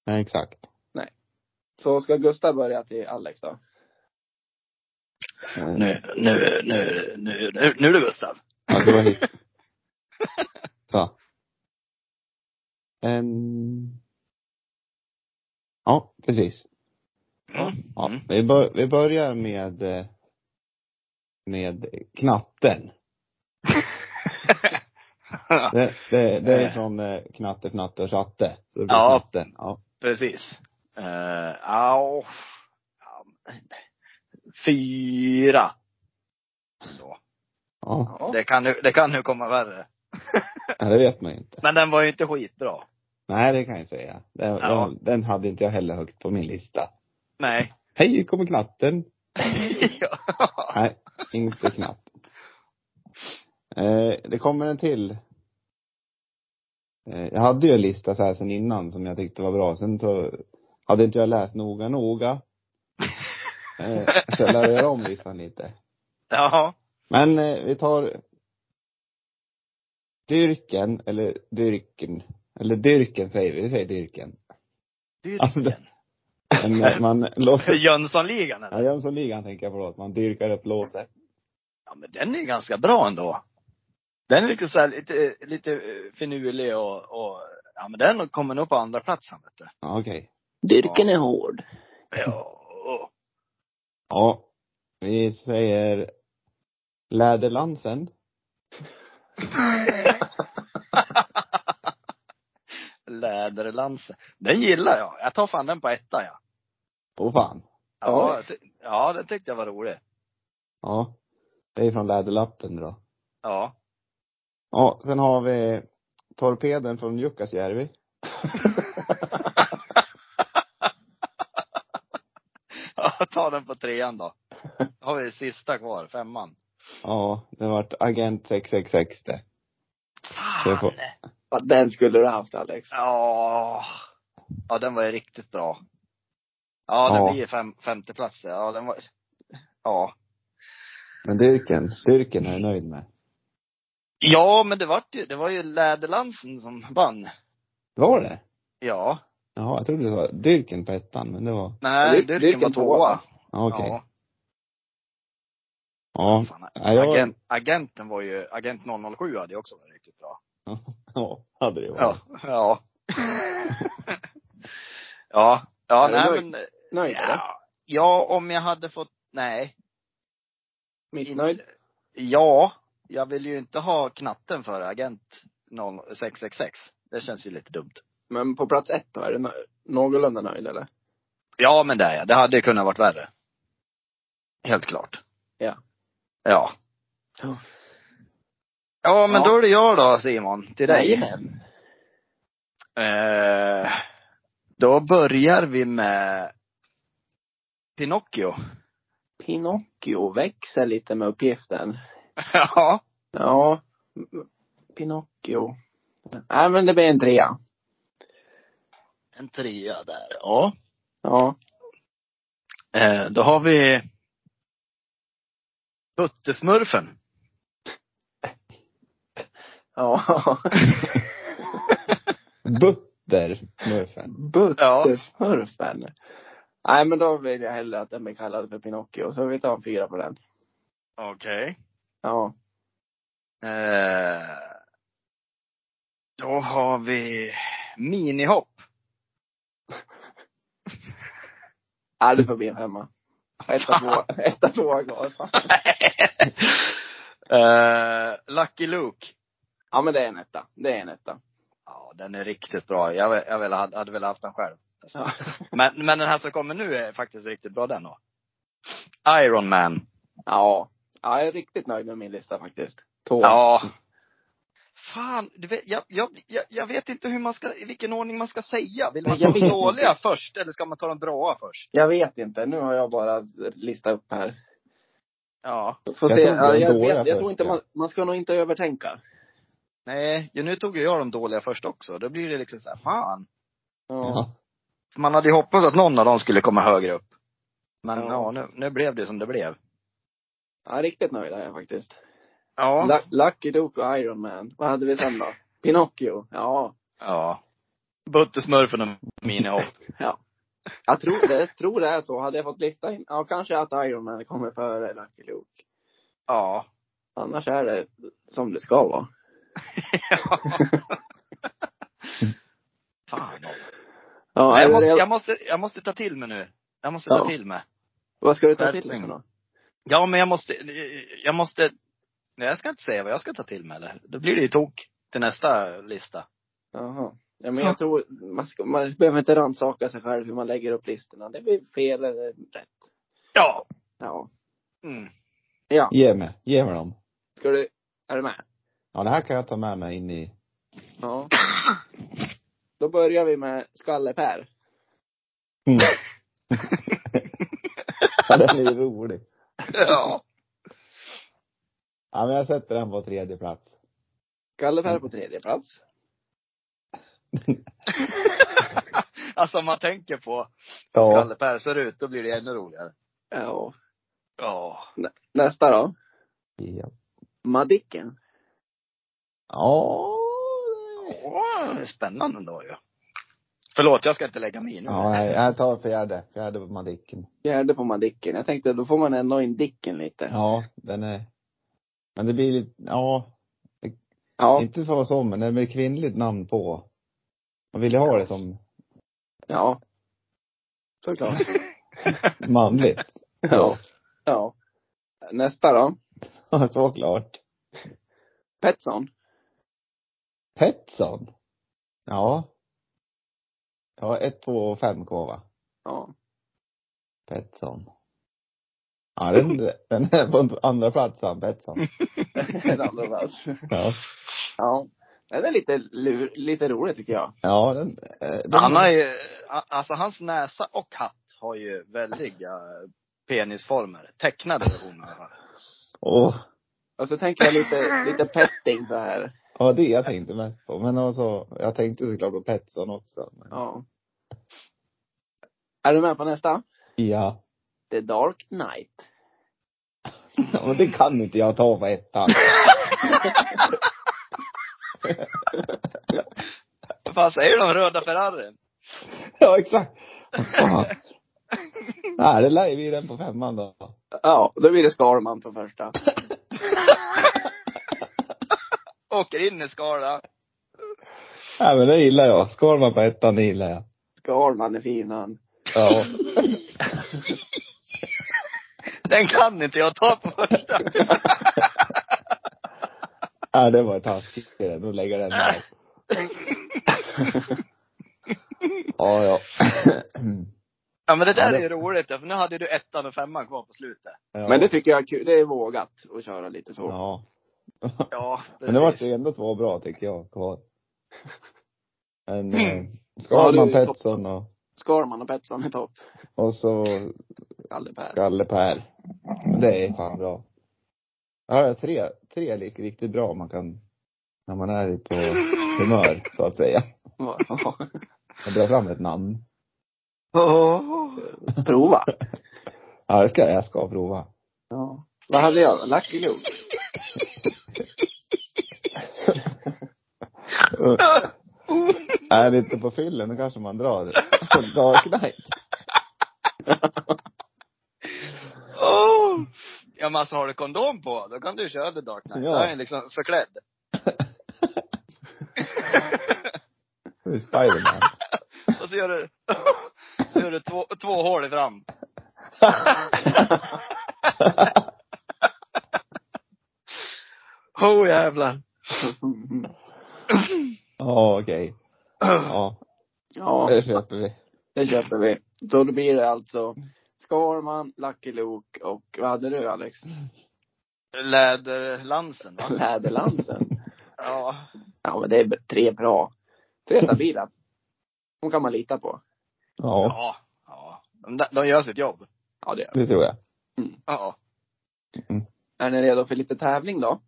Speaker 3: Nej, exakt.
Speaker 1: Så ska Gustav börja till Alex då?
Speaker 3: Eh,
Speaker 2: Nu, nu, nu, nu, nu, nu är det Gustav.
Speaker 3: Ja, det var hit. Så. En... Ja, precis.
Speaker 2: Mm.
Speaker 3: Ja.
Speaker 2: Mm.
Speaker 3: Vi, bör, vi börjar med, eh, med knatten. Det, det, det är
Speaker 2: Eh.
Speaker 3: från eh, Knatte, Fnatte och Tjatte. Så det blir
Speaker 2: Ja.
Speaker 3: Knatten. Ja.
Speaker 2: Precis. Uh, au. Ja, Fyra. Så.
Speaker 3: Ja.
Speaker 2: Det kan nu, det kan nu komma värre.
Speaker 3: ja, det vet man ju inte.
Speaker 2: Men den var ju inte skitbra.
Speaker 3: Nej, det kan jag säga. Den,
Speaker 2: Ja.
Speaker 3: den, den hade inte jag heller högt på min lista.
Speaker 2: Nej.
Speaker 3: Hej, kommer knatten.
Speaker 2: ja.
Speaker 3: Nej, inte knappt. Eh, det kommer en till. Eh, jag hade ju en lista så här sen innan som jag tyckte var bra. Sen så hade inte jag läst noga, noga. Eh, så jag lärde göra om listan lite.
Speaker 2: Ja.
Speaker 3: Men eh, vi tar Dyrken, eller Dyrken, eller Dyrken säger vi, vi säger Dyrken. Alltså, det-
Speaker 2: Dyrken.
Speaker 3: Men eh, man låter,
Speaker 2: Jönssonligan
Speaker 3: ja,
Speaker 2: eller?
Speaker 3: Jönssonligan tänker jag på då, att man dyrkar upp låset.
Speaker 2: Ja men den är ju ganska bra ändå. Den är liksom så här lite, lite eh, finurlig och, och, ja men den kommer nog på andra platsen vet du.
Speaker 3: Ja, okej.
Speaker 1: Dyrken är hård.
Speaker 2: Ja.
Speaker 3: Ja, vi säger Läderlansen.
Speaker 2: Läderlansen. Den gillar jag. Jag tar fan den på etta ja.
Speaker 3: Åh fan.
Speaker 2: Ja, jag ty- ja den tyckte jag var rolig.
Speaker 3: Ja. Det är från Läderlappen då.
Speaker 2: Ja.
Speaker 3: Ja, sen har vi Torpeden från Jukkasjärvi.
Speaker 2: ja ta den på trean då. Då har vi sista kvar, femman.
Speaker 3: Ja, det vart Agent 666 det.
Speaker 2: Fan!
Speaker 3: Jag får-
Speaker 1: Ja, den skulle du haft Alex.
Speaker 2: Ja. Ja den var ju riktigt bra. Ja den
Speaker 3: Ja.
Speaker 2: blir ju fem, femte plats. Ja den var, ja.
Speaker 3: Men Dyrken, Dyrken är jag nöjd med.
Speaker 2: Ja, men det var ju, det var ju Läderlansen som vann.
Speaker 3: Var det?
Speaker 2: Ja.
Speaker 3: Jaha, jag trodde det var Dyrken på ettan, men det var,
Speaker 2: Nej,
Speaker 1: Dyr-
Speaker 2: Dyrken,
Speaker 1: Dyrken
Speaker 2: var
Speaker 1: tvåa.
Speaker 2: tvåa.
Speaker 3: ja, okej.
Speaker 2: Ja.
Speaker 3: Ja.
Speaker 2: Fan,
Speaker 3: Ja, jag-
Speaker 2: agent, agenten var ju, agent 007 hade ju också varit riktigt bra.
Speaker 3: Ja, hade det varit.
Speaker 2: Ja. Ja. ja. Ja,
Speaker 1: Är du
Speaker 2: nej
Speaker 1: nöjd?
Speaker 2: men.
Speaker 1: Nöjd eller?
Speaker 2: Ja, ja, om jag hade fått, nej.
Speaker 1: Missnöjd?
Speaker 2: Ja. Jag vill ju inte ha knatten för agent 0666. Det känns ju lite dumt.
Speaker 1: Men på plats ett då, är du nö- någorlunda nöjd eller?
Speaker 2: Ja, men det är jag. Det hade ju kunnat varit värre. Helt klart.
Speaker 1: Ja.
Speaker 2: Ja.
Speaker 1: Ja.
Speaker 2: Ja, men
Speaker 1: Ja.
Speaker 2: då är det jag då Simon, till dig.
Speaker 1: Jajamän.
Speaker 2: Eh, då börjar vi med Pinocchio.
Speaker 1: Pinocchio växer lite med uppgiften.
Speaker 2: ja.
Speaker 1: Ja. m- Pinocchio. Nej men det blir en trea.
Speaker 2: En trea där. Ja.
Speaker 1: Ja.
Speaker 2: Eh, då har vi Buttesmurfen.
Speaker 1: Ja.
Speaker 3: Butter, smurfen.
Speaker 1: Buttersmurfen. Nej, men då vill jag hellre att den blir kallad för Pinocchio. Så vi tar en fyra på den.
Speaker 2: Okej.
Speaker 1: Ja.
Speaker 2: Eh, då har vi minihopp.
Speaker 1: ja det får bli en femma. Etta, två, etta, tvåa kvar.
Speaker 2: eh, Lucky Luke.
Speaker 1: Ja, men det är en etta. Det är en etta.
Speaker 2: Ja, den är riktigt bra. Jag, jag vill, hade velat haft den själv.
Speaker 1: Ja.
Speaker 2: Men, men den här som kommer nu är faktiskt riktigt bra den då. Iron Man.
Speaker 1: ja. Ja, jag är riktigt nöjd med min lista faktiskt. Två.
Speaker 2: Ja. Fan, du vet, jag, jag, jag, jag vet inte hur man ska, i vilken ordning man ska säga. Vill man ta
Speaker 1: Jag vet
Speaker 2: de
Speaker 1: inte.
Speaker 2: dåliga först eller ska man ta de bra först?
Speaker 1: Jag vet inte. Nu har jag bara listat upp här.
Speaker 2: Ja.
Speaker 1: Får
Speaker 3: Jag
Speaker 1: se.
Speaker 3: tror det är
Speaker 1: Ja, jag,
Speaker 3: dåliga
Speaker 1: vet, jag
Speaker 3: först,
Speaker 1: tror inte
Speaker 3: ja.
Speaker 1: man, man ska nog inte övertänka.
Speaker 2: Nej, ju nu tog ju jag de dåliga först också. Då blir det liksom så här, fan.
Speaker 1: Ja.
Speaker 3: Ja.
Speaker 2: Man hade ju hoppats att någon av dem skulle komma högre upp. Men
Speaker 1: Ja.
Speaker 2: ja, nu, nu blev det som det blev.
Speaker 1: ja, riktigt nöjd är jag faktiskt.
Speaker 2: Ja.
Speaker 1: Lu- Lucky Duke och Iron Man. Vad hade vi sen då? Pinocchio. Ja.
Speaker 2: ja. Buttersmurfen och minihopp.
Speaker 1: Jag tror det, jag tror det är så. Hade jag fått lista in, ja kanske att Iron Man kommer före Lucky Luke.
Speaker 2: ja.
Speaker 1: Annars är det som det ska vara.
Speaker 2: Fan.
Speaker 1: Ja,
Speaker 2: Nej, jag,
Speaker 1: eller
Speaker 2: måste,
Speaker 1: jag-
Speaker 2: jag, måste, jag måste ta till mig nu. Jag måste ta
Speaker 1: Ja.
Speaker 2: till mig.
Speaker 1: Vad ska du ta till
Speaker 2: Skärpning.
Speaker 1: dig för något?
Speaker 2: Ja, men jag måste, jag måste, nej jag ska inte säga vad jag ska ta till mig eller? Då blir det ju tok till nästa lista.
Speaker 1: Jaha. Ja, men jag tror, man, ska, man behöver inte rannsaka sig själv hur man lägger upp listorna. Det blir fel eller rätt.
Speaker 2: Ja.
Speaker 1: Ja.
Speaker 2: Mm.
Speaker 1: Ja.
Speaker 3: Ge mig, ge mig dem.
Speaker 1: Ska du, är du med?
Speaker 3: Ja, det här kan jag ta med mig in i,
Speaker 1: Ja. Då börjar vi med Skalle-Per.
Speaker 3: mm. ja, den är ju rolig.
Speaker 2: Ja.
Speaker 3: Ja, men jag sätter den på tredje plats.
Speaker 1: Skalle-Per på tredje plats.
Speaker 2: alltså om man tänker på hur
Speaker 3: Ja.
Speaker 2: Skalle-Per ser ut, då blir det ännu roligare.
Speaker 1: Ja.
Speaker 2: Ja.
Speaker 1: Nästa då.
Speaker 3: Ja.
Speaker 1: Madicken.
Speaker 3: Ja.
Speaker 2: Åh, spännande då ju. Förlåt, jag ska inte lägga mig i nu.
Speaker 3: Ja, nej, jag tar fjärde. Fjärde på Madicken.
Speaker 1: Fjärde på Madicken. Jag tänkte då får man ändå in Dicken lite.
Speaker 3: Ja, den är, men det blir lite, ja,
Speaker 1: Ja.
Speaker 3: inte för att vara så, men det blir kvinnligt namn på. Man vill ju ha det som
Speaker 1: Ja. Såklart.
Speaker 3: manligt.
Speaker 1: Ja. Ja. Nästa då.
Speaker 3: Ja, såklart.
Speaker 1: Petsson.
Speaker 3: Petsson. Ja. Ja, ett, två och fem kvar va?
Speaker 1: Ja.
Speaker 3: Petsson. Ja, den, den är på andra plats han, Petsson.
Speaker 1: En andra plats.
Speaker 3: Ja.
Speaker 1: Ja. Den är lite, lur, lite rolig tycker jag.
Speaker 3: Ja, den, eh, den
Speaker 2: Han har ju, alltså hans näsa och hatt har ju väldiga penisformer. Tecknade versioner i alla fall.
Speaker 3: Åh.
Speaker 1: Och så tänker jag lite, lite petting så här.
Speaker 3: Ja, det jag tänkte mest på. Men alltså, jag tänkte såklart på Petsson också. Men...
Speaker 1: Ja. Är du med på nästa?
Speaker 3: Ja.
Speaker 1: The Dark Knight.
Speaker 3: ja. Men det kan inte jag ta på ettan.
Speaker 2: Vad fan säger de röda Ferrarin?
Speaker 3: ja, exakt. Fan. Nej, det lägger vi den på femman då.
Speaker 1: Ja, då blir det Skarman på första.
Speaker 2: Åker in i skala.
Speaker 3: Nej, men det gillar jag. Skorman på ettan, det gillar jag.
Speaker 1: Skarman är fin han.
Speaker 3: Ja.
Speaker 2: Den kan inte jag ta på första.
Speaker 3: Nej, det var taskigt. Nu lägger jag den här. ja, ja.
Speaker 2: Ja men det där
Speaker 3: Ja, det-
Speaker 2: är ju roligt för nu hade du ettan och femman kvar på slutet.
Speaker 3: ja.
Speaker 1: Men det tycker jag är kul. Det är vågat att köra lite så.
Speaker 3: Ja.
Speaker 2: Ja.
Speaker 3: Men det vart ju ändå två bra tycker jag kvar. Men eh,
Speaker 1: Ja,
Speaker 3: Skalman,
Speaker 1: du-
Speaker 3: Pettersson och,
Speaker 1: Skarman och Pettersson är topp.
Speaker 3: och så
Speaker 1: Kalle-Per.
Speaker 3: Galle-Per. Det är fan bra. Ja, jag har tre, tre lik riktigt bra man kan, när man är på humör så att säga. Jag drar fram ett namn.
Speaker 2: Åh. Oh,
Speaker 1: Prova.
Speaker 3: Ja, det ska jag, jag ska prova.
Speaker 1: Ja. Vad hade jag? Lucky Luke?
Speaker 3: Är det inte på fyllen, då kanske man drar, drar knark.
Speaker 2: Oh! Ja men alltså har du kondom på, då kan du köra The Dark Knight.
Speaker 3: Ja.
Speaker 2: Då är den liksom förklädd.
Speaker 3: Det är Spiderman.
Speaker 2: Och så gör du, så gör du två, två hål fram. Oh jävlar.
Speaker 3: Ja, okej. Ja,
Speaker 1: ja,
Speaker 3: det köper vi.
Speaker 1: det köper vi. Så då blir det alltså Skarman, Lucky Luke och vad hade du Alex?
Speaker 2: Läderlansen va?
Speaker 1: Läderlansen.
Speaker 2: Ja.
Speaker 1: Ja, men det är tre bra. Tre stabila. De kan man lita på.
Speaker 3: Ja,
Speaker 2: Ja. ja. De, där- de gör sitt jobb.
Speaker 1: Ja, det gör vi.
Speaker 3: det tror jag.
Speaker 2: Ja.
Speaker 1: Är ni redo för lite tävling då?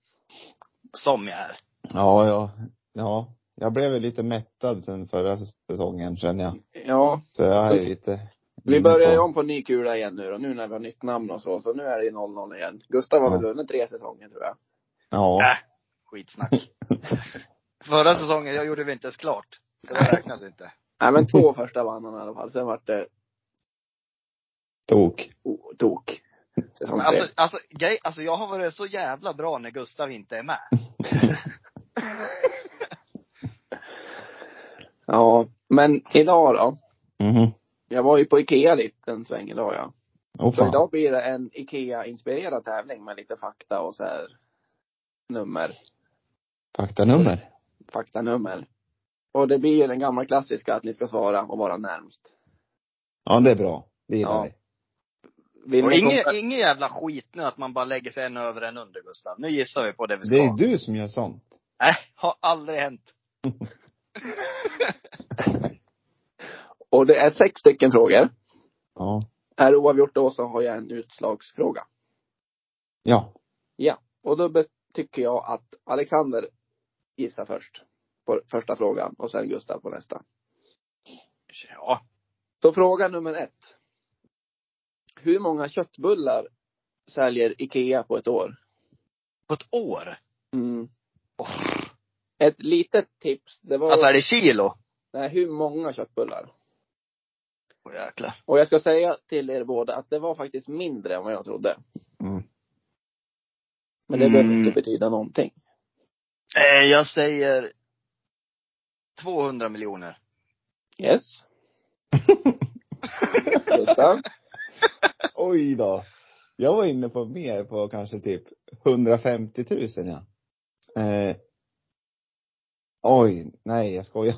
Speaker 2: Som jag är.
Speaker 3: Ja, ja. Ja. Jag blev väl lite mättad sen förra säsongen känner jag.
Speaker 1: Ja,
Speaker 3: Så jag är lite...
Speaker 1: vi börjar ju om på en ny kula igen nu då, nu när vi har nytt namn och så. Så nu är det ju 0-0 igen. Gustav har väl
Speaker 3: Ja.
Speaker 1: vunnit tre säsonger tror jag.
Speaker 3: Ja.
Speaker 2: Äh, skitsnack. Förra säsongen, jag gjorde vi inte ens klart. Så det räknas inte.
Speaker 1: Nej, men två första vann han i alla fall. Sen vart det
Speaker 3: Tok.
Speaker 1: oh, tok. Säsong
Speaker 2: Men
Speaker 1: tre.
Speaker 2: alltså, alltså, grej, alltså jag har varit så jävla bra när Gustav inte är med.
Speaker 1: Ja, men idag då.
Speaker 3: Mhm.
Speaker 1: Jag var ju på Ikea lite en sväng idag ja.
Speaker 3: Åh
Speaker 1: Så
Speaker 3: fan.
Speaker 1: idag blir det en Ikea-inspirerad tävling med lite fakta och så här nummer.
Speaker 3: Faktanummer.
Speaker 1: faktanummer. Och det blir ju den gamla klassiska att ni ska svara och vara närmst.
Speaker 3: Ja, det är bra. Det gillar
Speaker 1: Ja.
Speaker 3: vi.
Speaker 1: Vill
Speaker 2: Och
Speaker 1: ni
Speaker 2: ingen,
Speaker 1: komma-
Speaker 2: ingen jävla skit nu att man bara lägger sig en över en under Gustav. Nu gissar vi på det vi ska.
Speaker 3: Det är du som gör sånt.
Speaker 2: Nej, har aldrig hänt.
Speaker 1: Och det är sex stycken frågor.
Speaker 3: Ja.
Speaker 1: Är det oavgjort då så har jag en utslagsfråga.
Speaker 3: Ja.
Speaker 1: Och då bes- tycker jag att Alexander gissar först på första frågan och sen Gustav på nästa.
Speaker 2: Ja.
Speaker 1: Så fråga nummer ett. Hur många köttbullar säljer Ikea på ett år?
Speaker 2: På ett år?
Speaker 1: Mm.
Speaker 2: Åh.
Speaker 1: Ett litet tips, det var
Speaker 2: Alltså är det kilo?
Speaker 1: nej, hur många köttbullar.
Speaker 2: Åh jäklar.
Speaker 1: Och jag ska säga till er båda att det var faktiskt mindre än vad jag trodde.
Speaker 3: Mm.
Speaker 1: Men det behöver
Speaker 2: Mm.
Speaker 1: inte betyda någonting.
Speaker 2: Eh, jag säger 200 miljoner.
Speaker 1: Yes. Gustav.
Speaker 3: Oj då. Jag var inne på mer på kanske typ 150 000 ja. Eh, oj, nej jag skojar.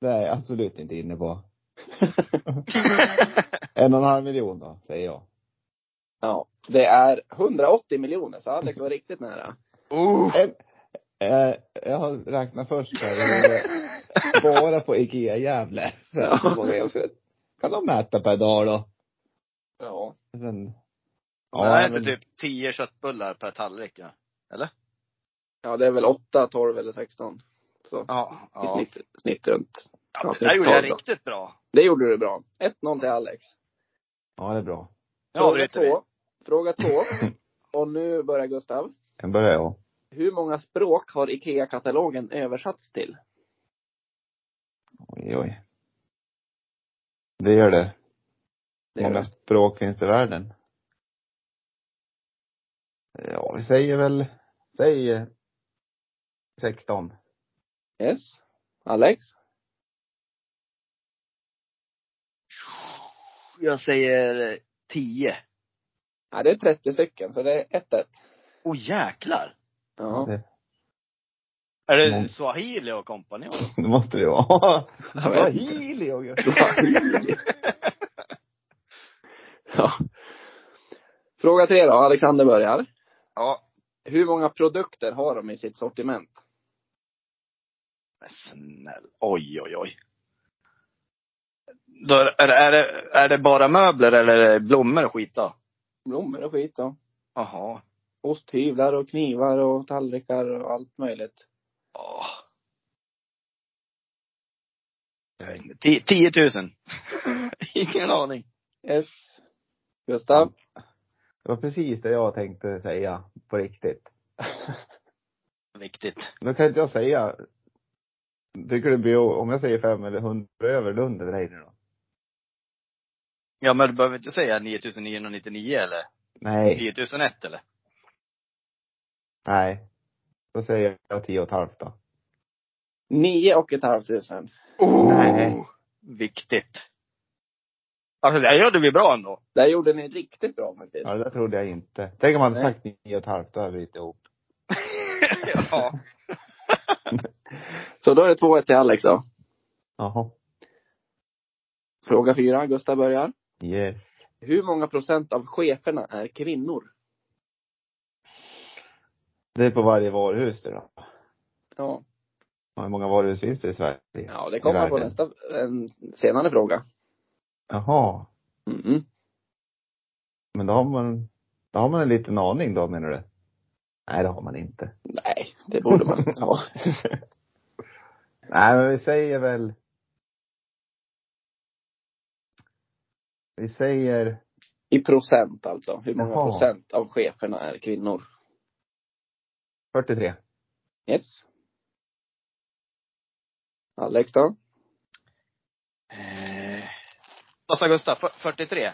Speaker 3: Det är jag absolut inte inne på. En och en halv miljon då, säger jag.
Speaker 1: Ja, det är 180 miljoner så Alex var riktigt nära.
Speaker 2: oh.
Speaker 3: En, eh, jag har räknat först här. Jag gjorde Bara på Ikea Gävle. Så här, hur många jag köpt. Kan de mäta per dag då?
Speaker 1: Ja.
Speaker 3: Sen,
Speaker 2: det här är
Speaker 3: men-
Speaker 2: inte typ 10 köttbullar per tallrik ja.
Speaker 1: Ja, det är väl 8, 12 eller 16. Så
Speaker 2: Ja.
Speaker 1: i
Speaker 2: ja.
Speaker 1: snitt, snitt runt.
Speaker 2: ja det där gjorde jag
Speaker 1: Ja.
Speaker 2: riktigt bra.
Speaker 1: Det gjorde du bra. 1-0 till Alex.
Speaker 3: Ja, det är bra.
Speaker 2: Nu avbryter vi.
Speaker 1: Fråga två. Och nu börjar Gustav.
Speaker 3: Kan börja jag.
Speaker 1: Hur många språk har IKEA-katalogen översatts till?
Speaker 3: Oj, oj. Det gör det.
Speaker 1: Det är
Speaker 3: många språk finns det i världen? Ja, vi säger väl, säg eh, 16.
Speaker 1: Yes. Alex?
Speaker 2: Jag säger eh, 10.
Speaker 1: Ja, det är 30 stycken, så det är 1-1.
Speaker 2: Åh oh, jäklar.
Speaker 1: Ja.
Speaker 3: Det,
Speaker 2: Är det
Speaker 3: Mm.
Speaker 2: swahili och kompani?
Speaker 3: det måste det ju vara.
Speaker 1: vet.
Speaker 3: Swahili och
Speaker 1: ja. Fråga tre då. Alexander börjar.
Speaker 2: Ja.
Speaker 1: Hur många produkter har de i sitt sortiment?
Speaker 2: Men snäll. Oj, oj, oj. Då är, är, det- är, det, är det bara möbler eller är det blommor och skit då?
Speaker 1: Blommor och skit och
Speaker 2: Jaha.
Speaker 1: osthyvlar och knivar och tallrikar och allt möjligt.
Speaker 2: Åh. Jag vet inte. Ti- 10 000. Ingen aning.
Speaker 1: Yes. Gustav?
Speaker 3: Det var precis det jag tänkte säga på riktigt.
Speaker 2: Viktigt.
Speaker 3: Nu kan inte jag säga. Tycker du det blir, om jag säger fem eller hundra över Lund eller ej nu då?
Speaker 2: Ja, men du behöver inte säga 9999 eller
Speaker 3: Nej.
Speaker 2: 9001 eller?
Speaker 3: Nej. Då säger jag tio och ett halvt då.
Speaker 1: Nio och ett halvt tusen.
Speaker 3: Nej.
Speaker 2: Oh. Viktigt. Alltså, det här gjorde vi bra ändå.
Speaker 1: Där gjorde ni riktigt bra faktiskt.
Speaker 3: Ja, det där trodde jag inte. Tänk om man hade
Speaker 1: Nej.
Speaker 3: sagt nio och ett halvt, då hade vi inte ihop.
Speaker 2: ja.
Speaker 1: Så då är det 2-1 till Alex då.
Speaker 3: Jaha.
Speaker 1: Fråga fyra, Gustav börjar.
Speaker 3: Yes.
Speaker 1: Hur många procent av cheferna är kvinnor?
Speaker 3: Det är på varje varuhus det då.
Speaker 1: Ja,
Speaker 3: Ja, Hur många varuhus finns det i Sverige?
Speaker 1: ja det kommer på
Speaker 3: Världen.
Speaker 1: nästa, en senare fråga.
Speaker 3: Jaha.
Speaker 1: Mm.
Speaker 3: Men då har man, då har man en liten aning då menar du? Nej, det har man inte.
Speaker 1: Nej, det borde man inte ha.
Speaker 3: Nej, men vi säger väl. Vi säger,
Speaker 1: I procent alltså. Hur många
Speaker 3: Jaha.
Speaker 1: procent av cheferna är kvinnor?
Speaker 3: 43.
Speaker 1: Yes. Alex då?
Speaker 2: Eh, Vad sa Gustav? Fyr- 43?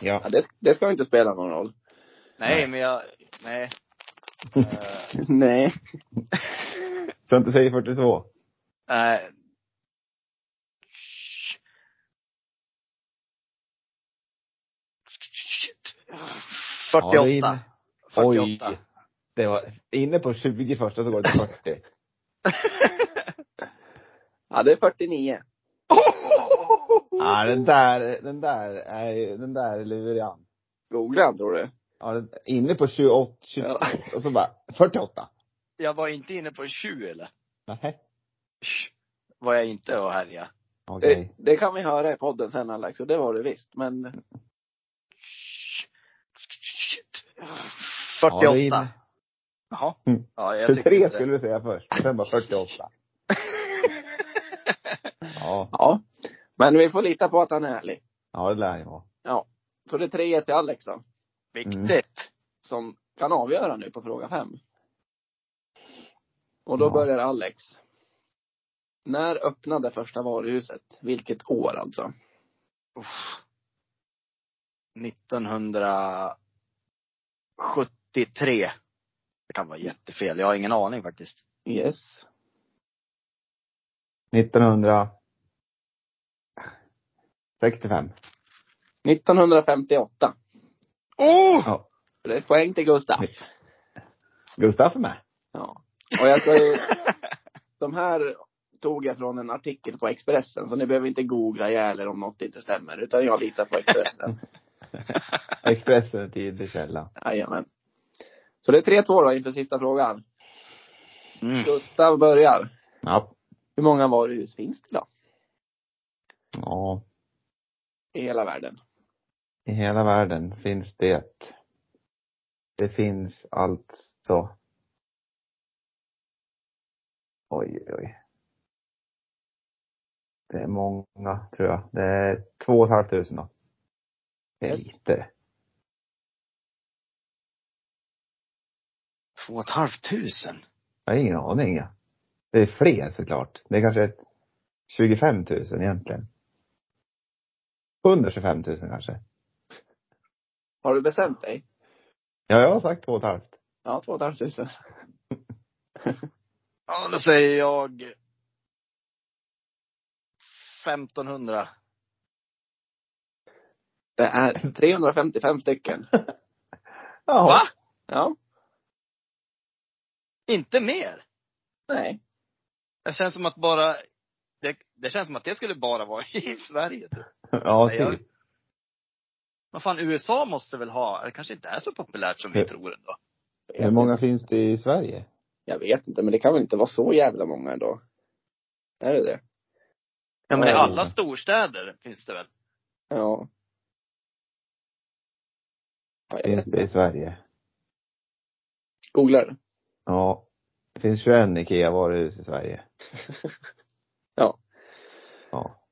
Speaker 1: Ja, det, det ska ju inte spela någon roll.
Speaker 2: Nej,
Speaker 3: Nej.
Speaker 2: men jag, nej. Eh,
Speaker 1: Nej.
Speaker 3: Så jag inte säger 42.
Speaker 2: nej.
Speaker 3: Ja, det är
Speaker 2: 48.
Speaker 3: in-
Speaker 2: 48.
Speaker 3: Oj. Det var inne på 20 första så går det till 40.
Speaker 1: Ja, det är 49.
Speaker 3: Ja, den där, den där, är ju- den där är lurig han.
Speaker 1: Googla han, tror du?
Speaker 3: Ja, den, inne på 28, 20,
Speaker 1: Ja.
Speaker 3: och så bara 48.
Speaker 2: Jag var inte inne på 20 eller?
Speaker 3: Nej.
Speaker 2: Sh, Var jag inte och härja.
Speaker 3: Okej.
Speaker 2: Eh,
Speaker 1: Det, det kan vi höra i podden sen Alex, och det var det visst. Men
Speaker 2: Sh,
Speaker 3: Ja, det är in-
Speaker 2: 48. Jaha.
Speaker 3: Mm.
Speaker 2: Ja, jag tyckte
Speaker 3: 23
Speaker 2: inte
Speaker 3: skulle du säga först, och sen bara 48. Ja,
Speaker 1: ja. Men vi får lita på att han är ärlig.
Speaker 3: ja det lär ju vara.
Speaker 1: Så det är 3 till Alex då,
Speaker 2: det.
Speaker 3: Mm.
Speaker 2: Viktigt.
Speaker 1: som kan avgöra nu på fråga fem. Och då
Speaker 3: Ja.
Speaker 1: börjar Alex. När öppnade första varuhuset? Vilket år alltså?
Speaker 2: 1973. Det kan vara jättefel. Jag har ingen aning faktiskt.
Speaker 1: Yes.
Speaker 3: 1965.
Speaker 1: 1958.
Speaker 2: Oh!
Speaker 3: Ja.
Speaker 1: Så Det är ett poäng till Gustav.
Speaker 3: Gustaf är med.
Speaker 1: Ja. Och jag ska ju, de här tog jag från en artikel på Expressen, så ni behöver inte googla ihjäl er om något inte stämmer, utan jag litar på Expressen.
Speaker 3: Expressen är tidig källa.
Speaker 1: Jajamän. Så det är 3-2 då inför sista frågan.
Speaker 2: Mm.
Speaker 1: Gustav börjar.
Speaker 3: Ja.
Speaker 1: Hur många varuhus finns det då?
Speaker 3: Ja.
Speaker 1: I hela världen?
Speaker 3: I hela världen finns det. Det finns alltså. Oj, oj, oj. Det är många, tror jag. Det är två och ett halvt tusen då. Det är
Speaker 1: Yes.
Speaker 3: lite.
Speaker 2: Två och ett halvt tusen.
Speaker 3: Jag har ingen aning. ja. Det är fler såklart. Det är kanske ett 25 000 egentligen. 125 000 kanske.
Speaker 1: Har du bestämt dig?
Speaker 3: Ja, jag har sagt två och ett halvt.
Speaker 1: Ja, 2 500.
Speaker 2: Ja, då säger jag 1500.
Speaker 1: Det är 355 stycken.
Speaker 3: Ja.
Speaker 2: Va?
Speaker 1: Ja.
Speaker 2: Inte mer?
Speaker 1: Nej.
Speaker 2: Det känns som att bara, det, det känns som att det skulle bara vara i Sverige typ.
Speaker 3: Ja,
Speaker 2: Nej, jag-
Speaker 3: typ.
Speaker 2: Vad fan, USA måste väl ha, det kanske inte är så populärt som vi
Speaker 3: Hur-
Speaker 2: tror ändå.
Speaker 3: Hur många finns det i Sverige?
Speaker 1: Jag vet inte, men det kan väl inte vara så jävla många ändå? Är det det?
Speaker 2: Ja men i
Speaker 1: Ja,
Speaker 2: alla
Speaker 3: jo.
Speaker 2: storstäder finns det väl?
Speaker 1: Ja. ja jag
Speaker 3: Finns
Speaker 1: vet.
Speaker 3: det i Sverige?
Speaker 1: Googlar du?
Speaker 3: Ja. Det finns 21 IKEA-varuhus i Sverige.
Speaker 1: Ja.
Speaker 3: Ja.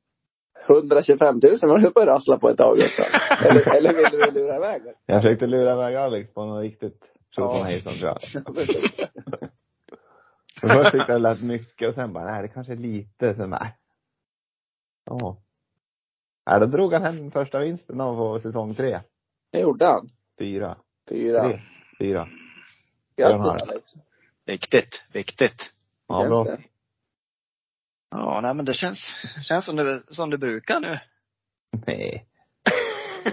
Speaker 1: 125 000 var du började rassla på ett tag också. Eller, eller ville du lura iväg det?
Speaker 3: Jag försökte lura iväg Alex på något riktigt tjosan hejsan tror jag. Och Först tyckte jag det lät mycket och sen bara, nej det kanske är lite, sen bara, nej. Ja. Nej, då drog han hem första vinsten av på säsong tre.
Speaker 1: Det gjorde han.
Speaker 3: Fyra.
Speaker 1: Fyra.
Speaker 3: Tre. Fyra. fyra och en halv.
Speaker 1: Grattis Alex.
Speaker 2: Viktigt, viktigt.
Speaker 3: Ja, bra.
Speaker 1: Känns det?
Speaker 2: Ja, nej men det känns, känns som det, som det brukar nu.
Speaker 3: Nej.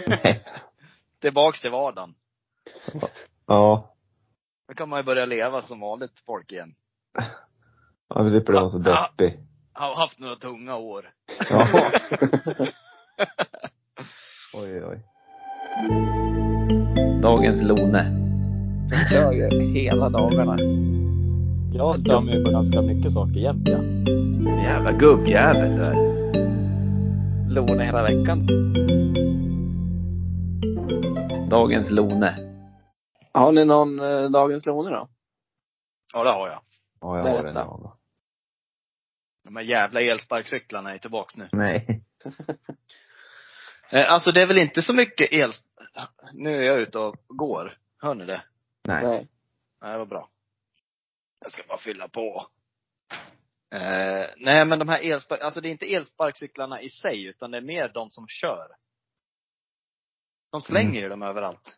Speaker 3: Nej.
Speaker 2: Tillbaks till vardagen.
Speaker 3: Ja.
Speaker 2: Då kan man ju börja leva som vanligt folk igen.
Speaker 3: Ja, vi slipper det vara
Speaker 1: Ah,
Speaker 3: så deppig.
Speaker 2: Har haft några tunga år.
Speaker 3: Ja. Oj, oj. Dagens Lone.
Speaker 1: Jag kör ju hela dagarna.
Speaker 4: Jag stör mig på ganska mycket saker jämt ja.
Speaker 2: Jävla gubbjävel där.
Speaker 1: Låna hela veckan.
Speaker 3: Dagens Lone.
Speaker 1: Har ni någon eh, Dagens Låne då?
Speaker 2: Ja, det har jag.
Speaker 3: Ja, jag har en
Speaker 1: Berätta.
Speaker 3: jag.
Speaker 2: De här jävla elsparkcyklarna är tillbaks nu.
Speaker 3: Nej.
Speaker 2: Eh, Alltså det är väl inte så mycket el... Nu är jag ute och går. Hör ni det?
Speaker 3: Nej.
Speaker 2: Nej, vad bra. Jag ska bara fylla på. Eh, nej men de här elspark... Alltså det är inte elsparkcyklarna i sig, utan det är mer de som kör. De slänger ju dem överallt.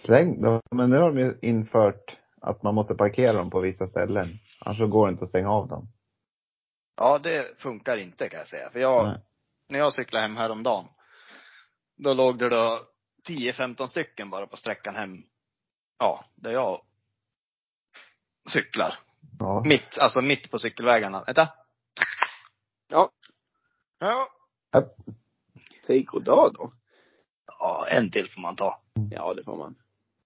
Speaker 3: Släng dem. Men nu har de ju infört att man måste parkera dem på vissa ställen. Annars så går det inte att stänga av dem.
Speaker 2: Ja, det funkar inte kan jag säga. För jag,
Speaker 3: Nej.
Speaker 2: när jag cyklade hem häromdagen, då låg det då 10-15 stycken bara på sträckan hem, ja, där jag cyklar.
Speaker 3: Ja.
Speaker 2: Mitt, alltså mitt på cykelvägarna. Vänta.
Speaker 1: Ja.
Speaker 2: Ja.
Speaker 1: Säg goddag då.
Speaker 2: Ja, en till får man ta.
Speaker 1: Ja, det får man.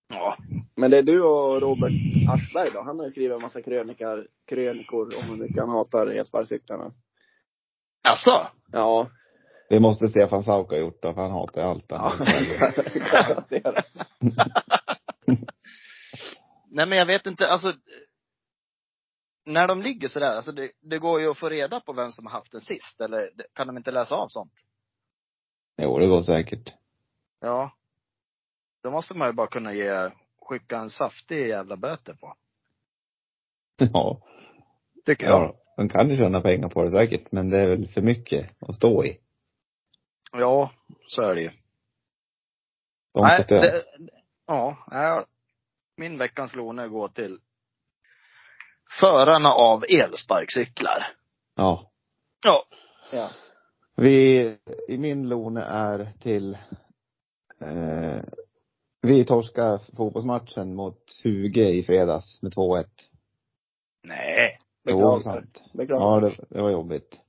Speaker 2: Ja.
Speaker 1: Men det är du och Robert Aschberg då. Han har ju skrivit en massa krönikor, krönikor om hur mycket han hatar elsparkcyklarna.
Speaker 2: Alltså,
Speaker 1: Ja.
Speaker 3: Det måste Stefan Sauka ha gjort då, för han hatar ju allt.
Speaker 1: ja.
Speaker 3: annat.
Speaker 1: Garanterat.
Speaker 2: Nej men jag vet inte, alltså. När de ligger sådär, alltså det, det går ju att få reda på vem som har haft den sist, eller kan de inte läsa av sånt?
Speaker 3: Jo, det går säkert.
Speaker 2: Ja. Då måste man ju bara kunna ge, skicka en saftig jävla böter på.
Speaker 3: Ja.
Speaker 2: Tycker jag.
Speaker 3: Ja, de kan ju tjäna pengar på det säkert, men det är väl för mycket att stå i.
Speaker 2: Ja, så är det ju.
Speaker 3: De får stöd.
Speaker 2: det, ja, nej, min veckans låne går till förarna av elsparkcyklar.
Speaker 3: Ja.
Speaker 2: Ja.
Speaker 1: Ja.
Speaker 3: Vi, i min lone är till, eh, vi torskade fotbollsmatchen mot 20 i fredags med 2-1.
Speaker 2: Nej.
Speaker 3: Jo,
Speaker 1: Beklagar.
Speaker 3: sant.
Speaker 1: Beklagar.
Speaker 3: Ja, det, det var jobbigt.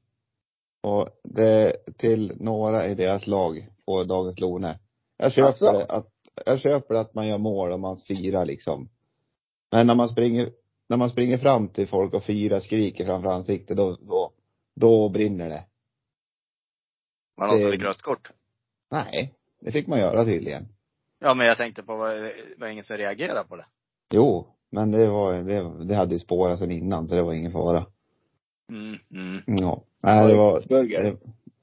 Speaker 3: Och det, till några i deras lag på dagens lone. Jag köper
Speaker 1: Alltså?
Speaker 3: det att, jag köper att man gör mål och man firar liksom. Men när man springer, när man springer fram till folk och firar, skriker framför ansiktet, då, då, då brinner det.
Speaker 2: Var det någon som
Speaker 3: Det-
Speaker 2: fick rött kort?
Speaker 3: Nej, det fick man göra tydligen.
Speaker 2: Ja, men jag tänkte på, var, var ingen som reagerade på det?
Speaker 3: Jo, men det var, det, det hade ju spårat sedan innan så det var ingen fara.
Speaker 2: Mm, mm.
Speaker 3: Ja. Nej, det var,
Speaker 1: Bugger.
Speaker 3: det,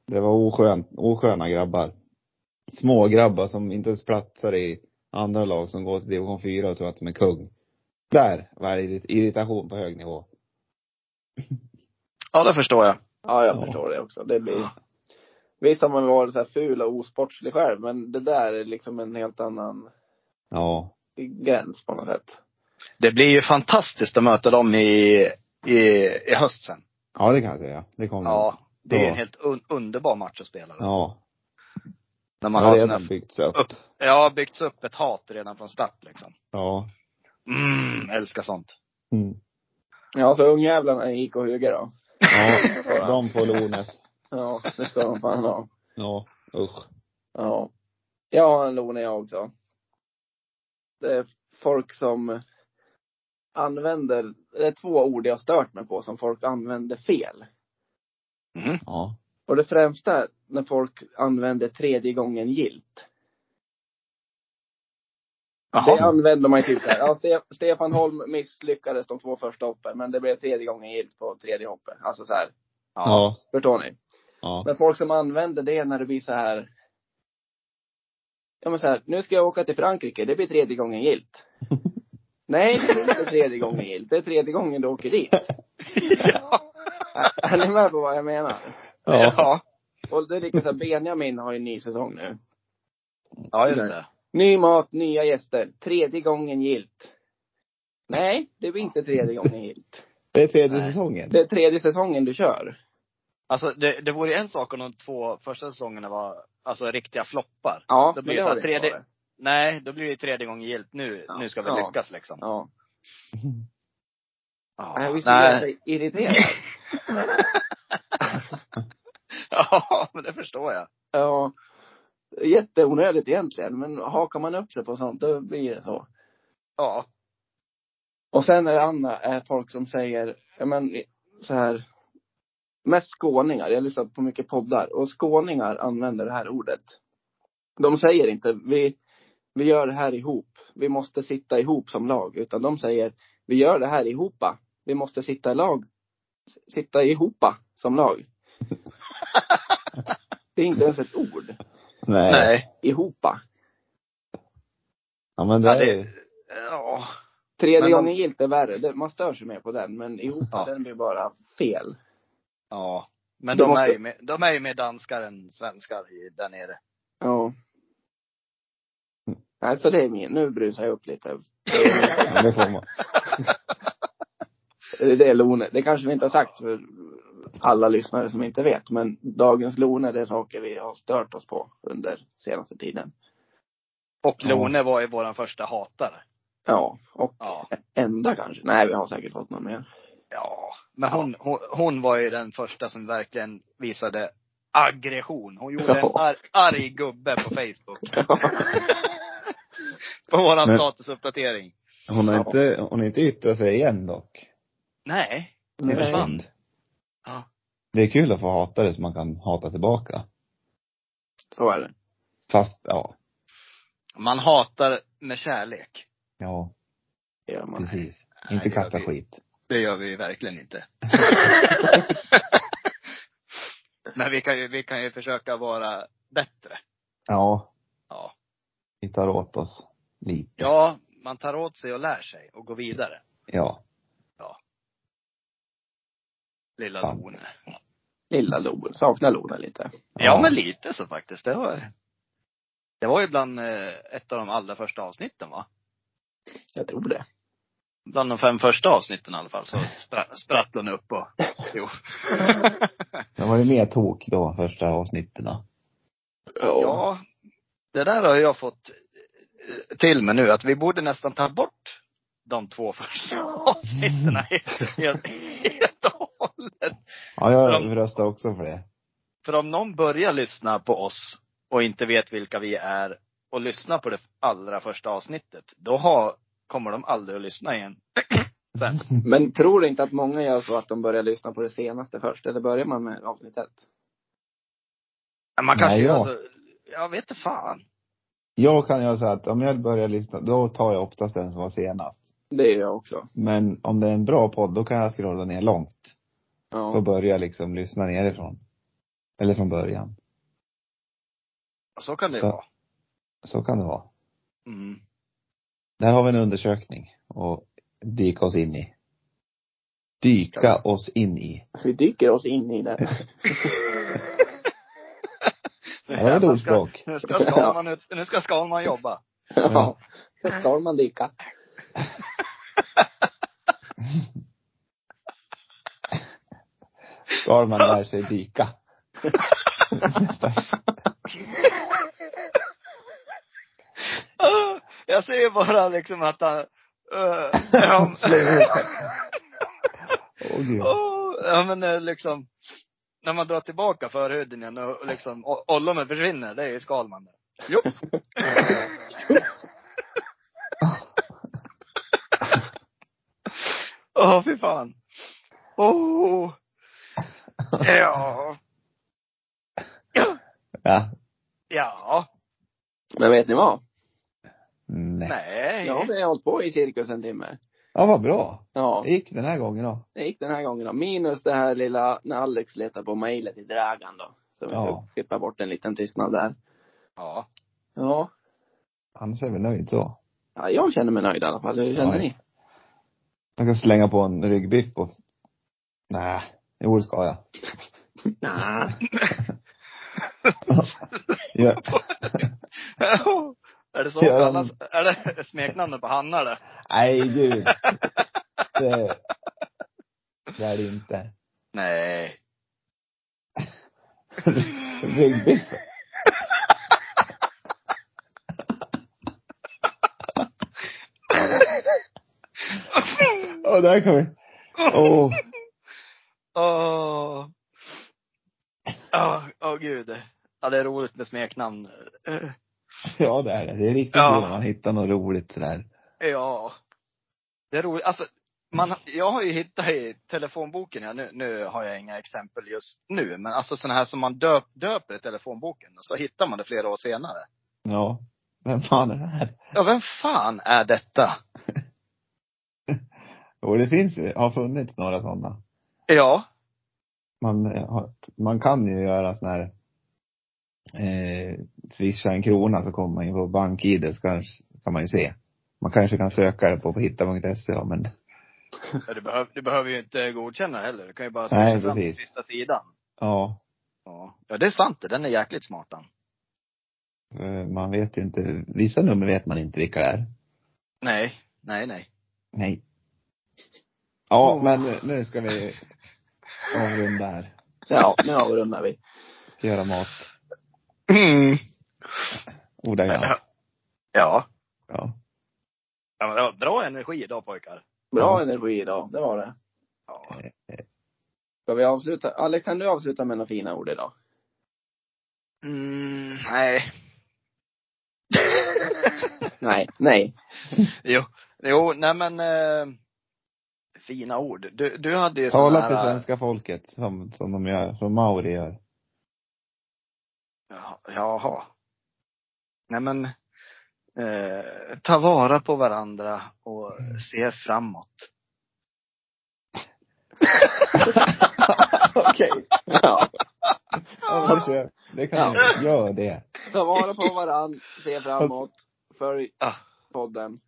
Speaker 3: det var oskön, osköna grabbar. Små grabbar som inte ens platsar i andra lag som går till division 4 och tror att de är kung. Där var det irrit- irritation på hög nivå.
Speaker 2: Ja, det förstår jag.
Speaker 1: Ja, jag
Speaker 3: Ja.
Speaker 1: förstår det också. Det blir... Visst har man varit så här ful och osportslig själv, men det där är liksom en helt annan
Speaker 3: Ja.
Speaker 1: gräns på något sätt.
Speaker 2: Det blir ju fantastiskt att möta dem i, i, i höst sen.
Speaker 3: Ja, det kan jag säga. Det kommer.
Speaker 2: Ja. Det är ju
Speaker 3: Mm. Ja.
Speaker 2: en helt un, underbar match att spela då.
Speaker 3: Ja.
Speaker 2: När
Speaker 3: Man
Speaker 2: man
Speaker 3: har
Speaker 2: har
Speaker 3: redan
Speaker 2: såna,
Speaker 3: byggts upp.
Speaker 2: upp. ja, byggts upp ett hat redan från start liksom.
Speaker 3: Ja.
Speaker 2: Mm, älskar sånt.
Speaker 3: Mm.
Speaker 1: Ja, så ungjävlarna i IK Huge då.
Speaker 3: Ja, de får Lones.
Speaker 1: Ja, det ska de fan ha.
Speaker 3: Ja, usch.
Speaker 1: Ja. Jag har en lån jag också. Det är folk som använder, det är två ord jag har stört mig på som folk använder fel.
Speaker 2: Mm.
Speaker 3: Ja.
Speaker 1: Och det främsta är när folk använder tredje gången gilt. Det
Speaker 2: Jaha.
Speaker 1: använder man ju typ såhär, ja, Ste- Stefan Holm misslyckades de två första hoppen men det blev tredje gången gilt på tredje hoppet. Alltså så här,
Speaker 3: Ja.
Speaker 1: förstår ni?
Speaker 3: Ja.
Speaker 1: Men folk som använder det när det blir så här. Ja men så här, nu ska jag åka till Frankrike, det blir tredje gången gilt. Nej, det är inte tredje gången gilt. Det är tredje gången du åker dit. Är ni med på vad jag menar?
Speaker 2: Ja.
Speaker 1: Och det är lika så här, Benjamin har ju en ny säsong nu.
Speaker 2: Ja, just det.
Speaker 1: Ny mat, nya gäster. Tredje gången gilt. Nej, det blir inte tredje gången gilt.
Speaker 3: Det är tredje
Speaker 2: Nej.
Speaker 3: säsongen.
Speaker 1: Det är tredje säsongen du kör.
Speaker 2: Alltså det, det vore ju en sak om de två första säsongerna var, alltså riktiga floppar.
Speaker 1: Ja,
Speaker 2: Det
Speaker 1: men
Speaker 2: blir
Speaker 1: det
Speaker 2: så här
Speaker 1: har vi
Speaker 2: tredje-
Speaker 1: varit.
Speaker 2: Nej, då blir det tredje gången gillt. Nu,
Speaker 1: Ja.
Speaker 2: nu ska vi
Speaker 1: Ja.
Speaker 2: lyckas liksom.
Speaker 1: Ja. Äh,
Speaker 2: Ja.
Speaker 1: Jag blir så
Speaker 2: Nej.
Speaker 1: jävla irriterad.
Speaker 2: ja, men det förstår jag.
Speaker 1: Ja. Jätteonödigt egentligen, men hakar man upp sig på sånt, då blir det så.
Speaker 2: Ja.
Speaker 1: Och sen är det andra, är folk som säger, ja men så här, mest skåningar, jag lyssnar på mycket poddar, och skåningar använder det här ordet. De säger inte, vi, vi gör det här ihop, vi måste sitta ihop som lag, utan de säger, vi gör det här ihopa, vi måste sitta i lag, sitta ihopa som lag. Det är inte ens ett ord,
Speaker 3: Nej.
Speaker 2: Nej.
Speaker 1: ihopa.
Speaker 3: Ja, men det,
Speaker 2: Ja,
Speaker 3: är
Speaker 2: det,
Speaker 3: ju-
Speaker 2: ja.
Speaker 1: Tredje
Speaker 2: Men man-
Speaker 1: gången gillt är värre, det, man stör sig mer på den, men ihopa,
Speaker 2: Ja.
Speaker 1: den blir bara fel.
Speaker 2: ja. Men
Speaker 1: Du
Speaker 2: de,
Speaker 1: måste-
Speaker 2: är ju med, de är ju mer danskar än svenskar i- där nere.
Speaker 1: Ja.
Speaker 2: Mm.
Speaker 1: Nej, så det är min. Nu brusar jag upp lite.
Speaker 3: ja, det får man.
Speaker 1: Det är Lone. Det kanske vi inte har sagt för alla lyssnare som inte vet. Men dagens Lone, det är saker vi har stört oss på under senaste tiden.
Speaker 2: Och
Speaker 3: Ja.
Speaker 2: Lone var ju våran första hatare.
Speaker 1: Ja, och
Speaker 2: Ja.
Speaker 1: enda kanske. Nej, vi har säkert fått någon mer.
Speaker 2: Ja. Men hon, hon, hon var ju den första som verkligen visade aggression. Hon gjorde en
Speaker 1: Ja.
Speaker 2: ar, arg gubbe på Facebook. på våran
Speaker 3: Men-
Speaker 2: statusuppdatering.
Speaker 3: Hon har
Speaker 1: Ja.
Speaker 3: inte, hon har inte yttrat sig igen dock.
Speaker 2: Nej.
Speaker 3: Det
Speaker 1: Nej.
Speaker 3: är synd.
Speaker 2: Ja.
Speaker 3: Det är kul att få hata det så man kan hata tillbaka.
Speaker 1: Så är det.
Speaker 3: Fast, ja.
Speaker 2: Man hatar med kärlek.
Speaker 3: Ja,
Speaker 1: Det gör man.
Speaker 3: precis.
Speaker 2: Nej,
Speaker 3: inte
Speaker 2: det gör
Speaker 3: kasta
Speaker 2: vi.
Speaker 3: skit.
Speaker 2: Det gör vi verkligen inte. Men vi kan ju, vi kan ju försöka vara bättre.
Speaker 3: Ja,
Speaker 2: Ja.
Speaker 3: vi tar åt oss lite.
Speaker 2: Ja, man tar åt sig och lär sig och går vidare.
Speaker 3: Ja.
Speaker 2: Lilla
Speaker 3: Sant.
Speaker 2: Lone.
Speaker 1: Lilla Lone. Saknar Lone lite.
Speaker 2: Ja, men lite så faktiskt. Det var, det var ju bland eh, ett av de allra första avsnitten va?
Speaker 1: Jag tror det.
Speaker 2: Bland de fem första avsnitten i alla fall så spra- spratt hon upp och, jo.
Speaker 3: Det var ju mer tok då, första avsnitten.
Speaker 2: Ja, det där har jag fått eh, till mig nu, att vi borde nästan ta bort de två första avsnitten helt- helt helt och hållet.
Speaker 3: Ja,
Speaker 2: Ja.
Speaker 3: jag röstar också för det.
Speaker 2: För om någon börjar lyssna på oss och inte vet vilka vi är och lyssnar på det allra första avsnittet, då har, kommer de aldrig att lyssna igen. Sen.
Speaker 1: Men tror du inte att många gör så att de börjar lyssna på det senaste först? Eller börjar man med avsnitt ett?
Speaker 2: Men Man kanske
Speaker 3: Nej,
Speaker 2: gör
Speaker 3: ja.
Speaker 2: så, jag vet inte fan.
Speaker 3: Jag kan göra så här att om jag börjar lyssna, då tar jag oftast den som var senast.
Speaker 1: Det gör jag också.
Speaker 3: Men om det är en bra podd, då kan jag scrolla ner långt.
Speaker 1: Ja.
Speaker 3: Och börja liksom lyssna nerifrån. Eller från början.
Speaker 2: Så kan det ju
Speaker 3: Så.
Speaker 2: vara.
Speaker 3: Så kan det vara.
Speaker 2: Mm.
Speaker 3: Där har vi en undersökning att dyka oss in i. Dyka oss in i.
Speaker 1: Vi dyker oss in i det.
Speaker 3: Ja, Det var ett
Speaker 2: Man ska-
Speaker 3: ordspråk.
Speaker 2: Nu ska Skalman, ut, nu ska Skalman jobba.
Speaker 1: Ja. Så ska man dyka.
Speaker 3: Ska man lär sig dyka.
Speaker 2: Ah, Jag ser ju bara liksom att han... eh, ja,
Speaker 3: Släng ut Åh gud.
Speaker 2: oh, ja men eh, liksom. När man drar tillbaka förhuden igen och och liksom o- ollonet försvinner, det är ju Skalman. där. Jo. Åh, fy fan. Oh. Ja.
Speaker 3: Ja.
Speaker 2: Ja.
Speaker 1: Men vet ni vad?
Speaker 3: Nej.
Speaker 2: Nej.
Speaker 1: Nu har vi hållit på i cirkus en timme.
Speaker 3: Ja, vad bra.
Speaker 1: Ja,
Speaker 3: Det gick den här gången då.
Speaker 1: det gick den här gången då. Minus det här lilla när Alex letar på mejlet i Dragan då. Så vi
Speaker 3: Ja.
Speaker 1: ja. klippa bort en liten tystnad där.
Speaker 2: Ja.
Speaker 1: Ja.
Speaker 3: Annars är vi nöjd så.
Speaker 1: ja, jag känner mig nöjd i alla fall. Hur känner
Speaker 3: Ja.
Speaker 1: ni?
Speaker 3: Man kan slänga på en ryggbiff och... Nej, jo det ska jag.
Speaker 1: Nej.
Speaker 3: Ja.
Speaker 2: är det så?
Speaker 3: Ja.
Speaker 2: Annars, är det smeknamnet på Hanna det?
Speaker 3: Nej, gud. Det, det är det inte.
Speaker 2: Nej.
Speaker 3: Ryggbiff. Åh, där kom vi. Åh,
Speaker 2: Åh. Åh, åh gud. Ja, det är roligt med smeknamn. Eh,
Speaker 3: ja det är det. Det är riktigt
Speaker 2: Ja.
Speaker 3: roligt när man hittar något roligt sådär.
Speaker 2: Ja. Det är roligt. Alltså, man, jag har ju hittat i telefonboken, ja, nu, nu har jag inga exempel just nu, men alltså sådana här som man döp, döper i telefonboken, och så hittar man det flera år senare.
Speaker 3: Ja. Vem fan är det här?
Speaker 2: Ja, vem fan är detta?
Speaker 3: Jo, det finns ju, har funnits några sådana.
Speaker 2: Ja.
Speaker 3: man, har- man kan ju göra sån här eh, swisha en krona så kommer man ju på bank-id så kanske, kan man ju se. Man kanske kan söka det på, på hitta.se E, ja, men
Speaker 2: Ja, Du, behöv, du behöver ju inte godkänna heller. Du kan ju bara
Speaker 3: Nej,
Speaker 2: skriva fram till
Speaker 3: precis.
Speaker 2: sista sidan.
Speaker 3: ja,
Speaker 2: Ja. ja, det är sant det. Den är jäkligt smart den.
Speaker 3: eh, man vet ju inte, vissa nummer vet man inte vilka det är.
Speaker 2: Nej, nej, nej.
Speaker 3: Nej. Ja,
Speaker 2: Åh.
Speaker 3: men nu- nu ska vi avrunda här.
Speaker 1: Ja, nu avrundar vi.
Speaker 3: Ska göra mat
Speaker 2: Mm.
Speaker 3: ordagrant.
Speaker 2: Ja.
Speaker 3: Ja.
Speaker 2: ja men det var bra energi idag pojkar.
Speaker 1: Bra
Speaker 3: Ja.
Speaker 1: energi idag, det var det.
Speaker 2: Ja.
Speaker 1: Ska vi avsluta? Alex, kan du avsluta med några fina ord idag?
Speaker 2: Mm, nej.
Speaker 1: Nej. Nej.
Speaker 2: jo, jo, nej men. Eh, fina ord. Du, du hade ju sån
Speaker 3: Tala
Speaker 2: här,
Speaker 3: till svenska folket som, som de gör, som Mauri gör.
Speaker 2: Jaha, eh, Jaha. Nej men, eh, ta vara på varandra och se framåt.
Speaker 3: Okej.
Speaker 1: Ja.
Speaker 3: Ja, men kör. det kan du. Gör det.
Speaker 1: Ta vara på varann, se framåt, följ
Speaker 2: Ah,
Speaker 1: podden.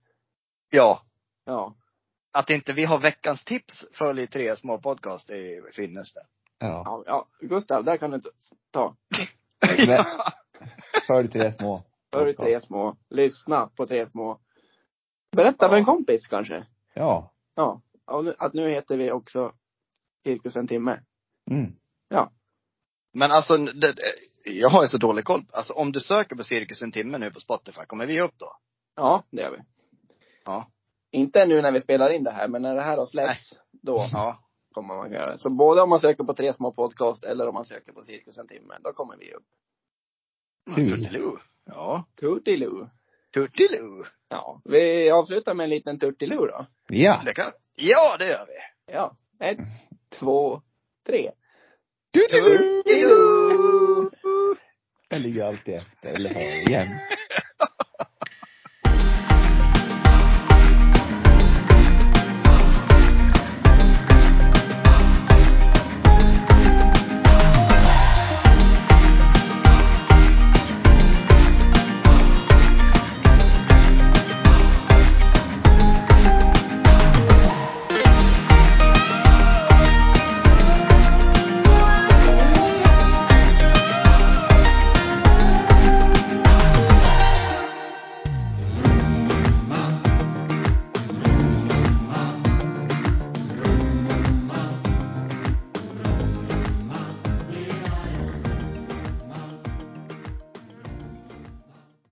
Speaker 2: Ja,
Speaker 1: Ja.
Speaker 2: att inte vi har veckans tips följer tre små podcast i sinnes det.
Speaker 3: Ja.
Speaker 1: ja. ja. Gustav, där kan du inte ta.
Speaker 2: Ja.
Speaker 3: Följ tre små.
Speaker 1: Följ tre små. Lyssna på tre små. Berätta för en kompis kanske.
Speaker 3: Ja.
Speaker 1: Ja. Och nu- Att nu heter vi också Cirkus en timme.
Speaker 3: Mm.
Speaker 2: Men alltså, det, jag har ju så dålig koll. Alltså om du söker på Cirkus en timme nu på Spotify, kommer vi upp då?
Speaker 1: Ja, det gör vi.
Speaker 2: Ja.
Speaker 1: Inte nu när vi spelar in det här, men när det här har släppts, då
Speaker 2: Ja.
Speaker 1: kommer man göra det. Så både om man söker på tre små podcast eller om man söker på Cirkus en timme, då kommer vi upp.
Speaker 3: Kul.
Speaker 2: Turtiloo. Ja.
Speaker 1: Turtiloo.
Speaker 2: Turtiloo.
Speaker 1: Ja. Vi avslutar med en liten turtiloo då.
Speaker 3: Ja.
Speaker 2: Det kan, ja, det gör vi.
Speaker 1: Ja. Ett, två, tre.
Speaker 3: Doodaloo!
Speaker 2: Turtiloo.
Speaker 3: Jag ligger alltid efter, eller jämt.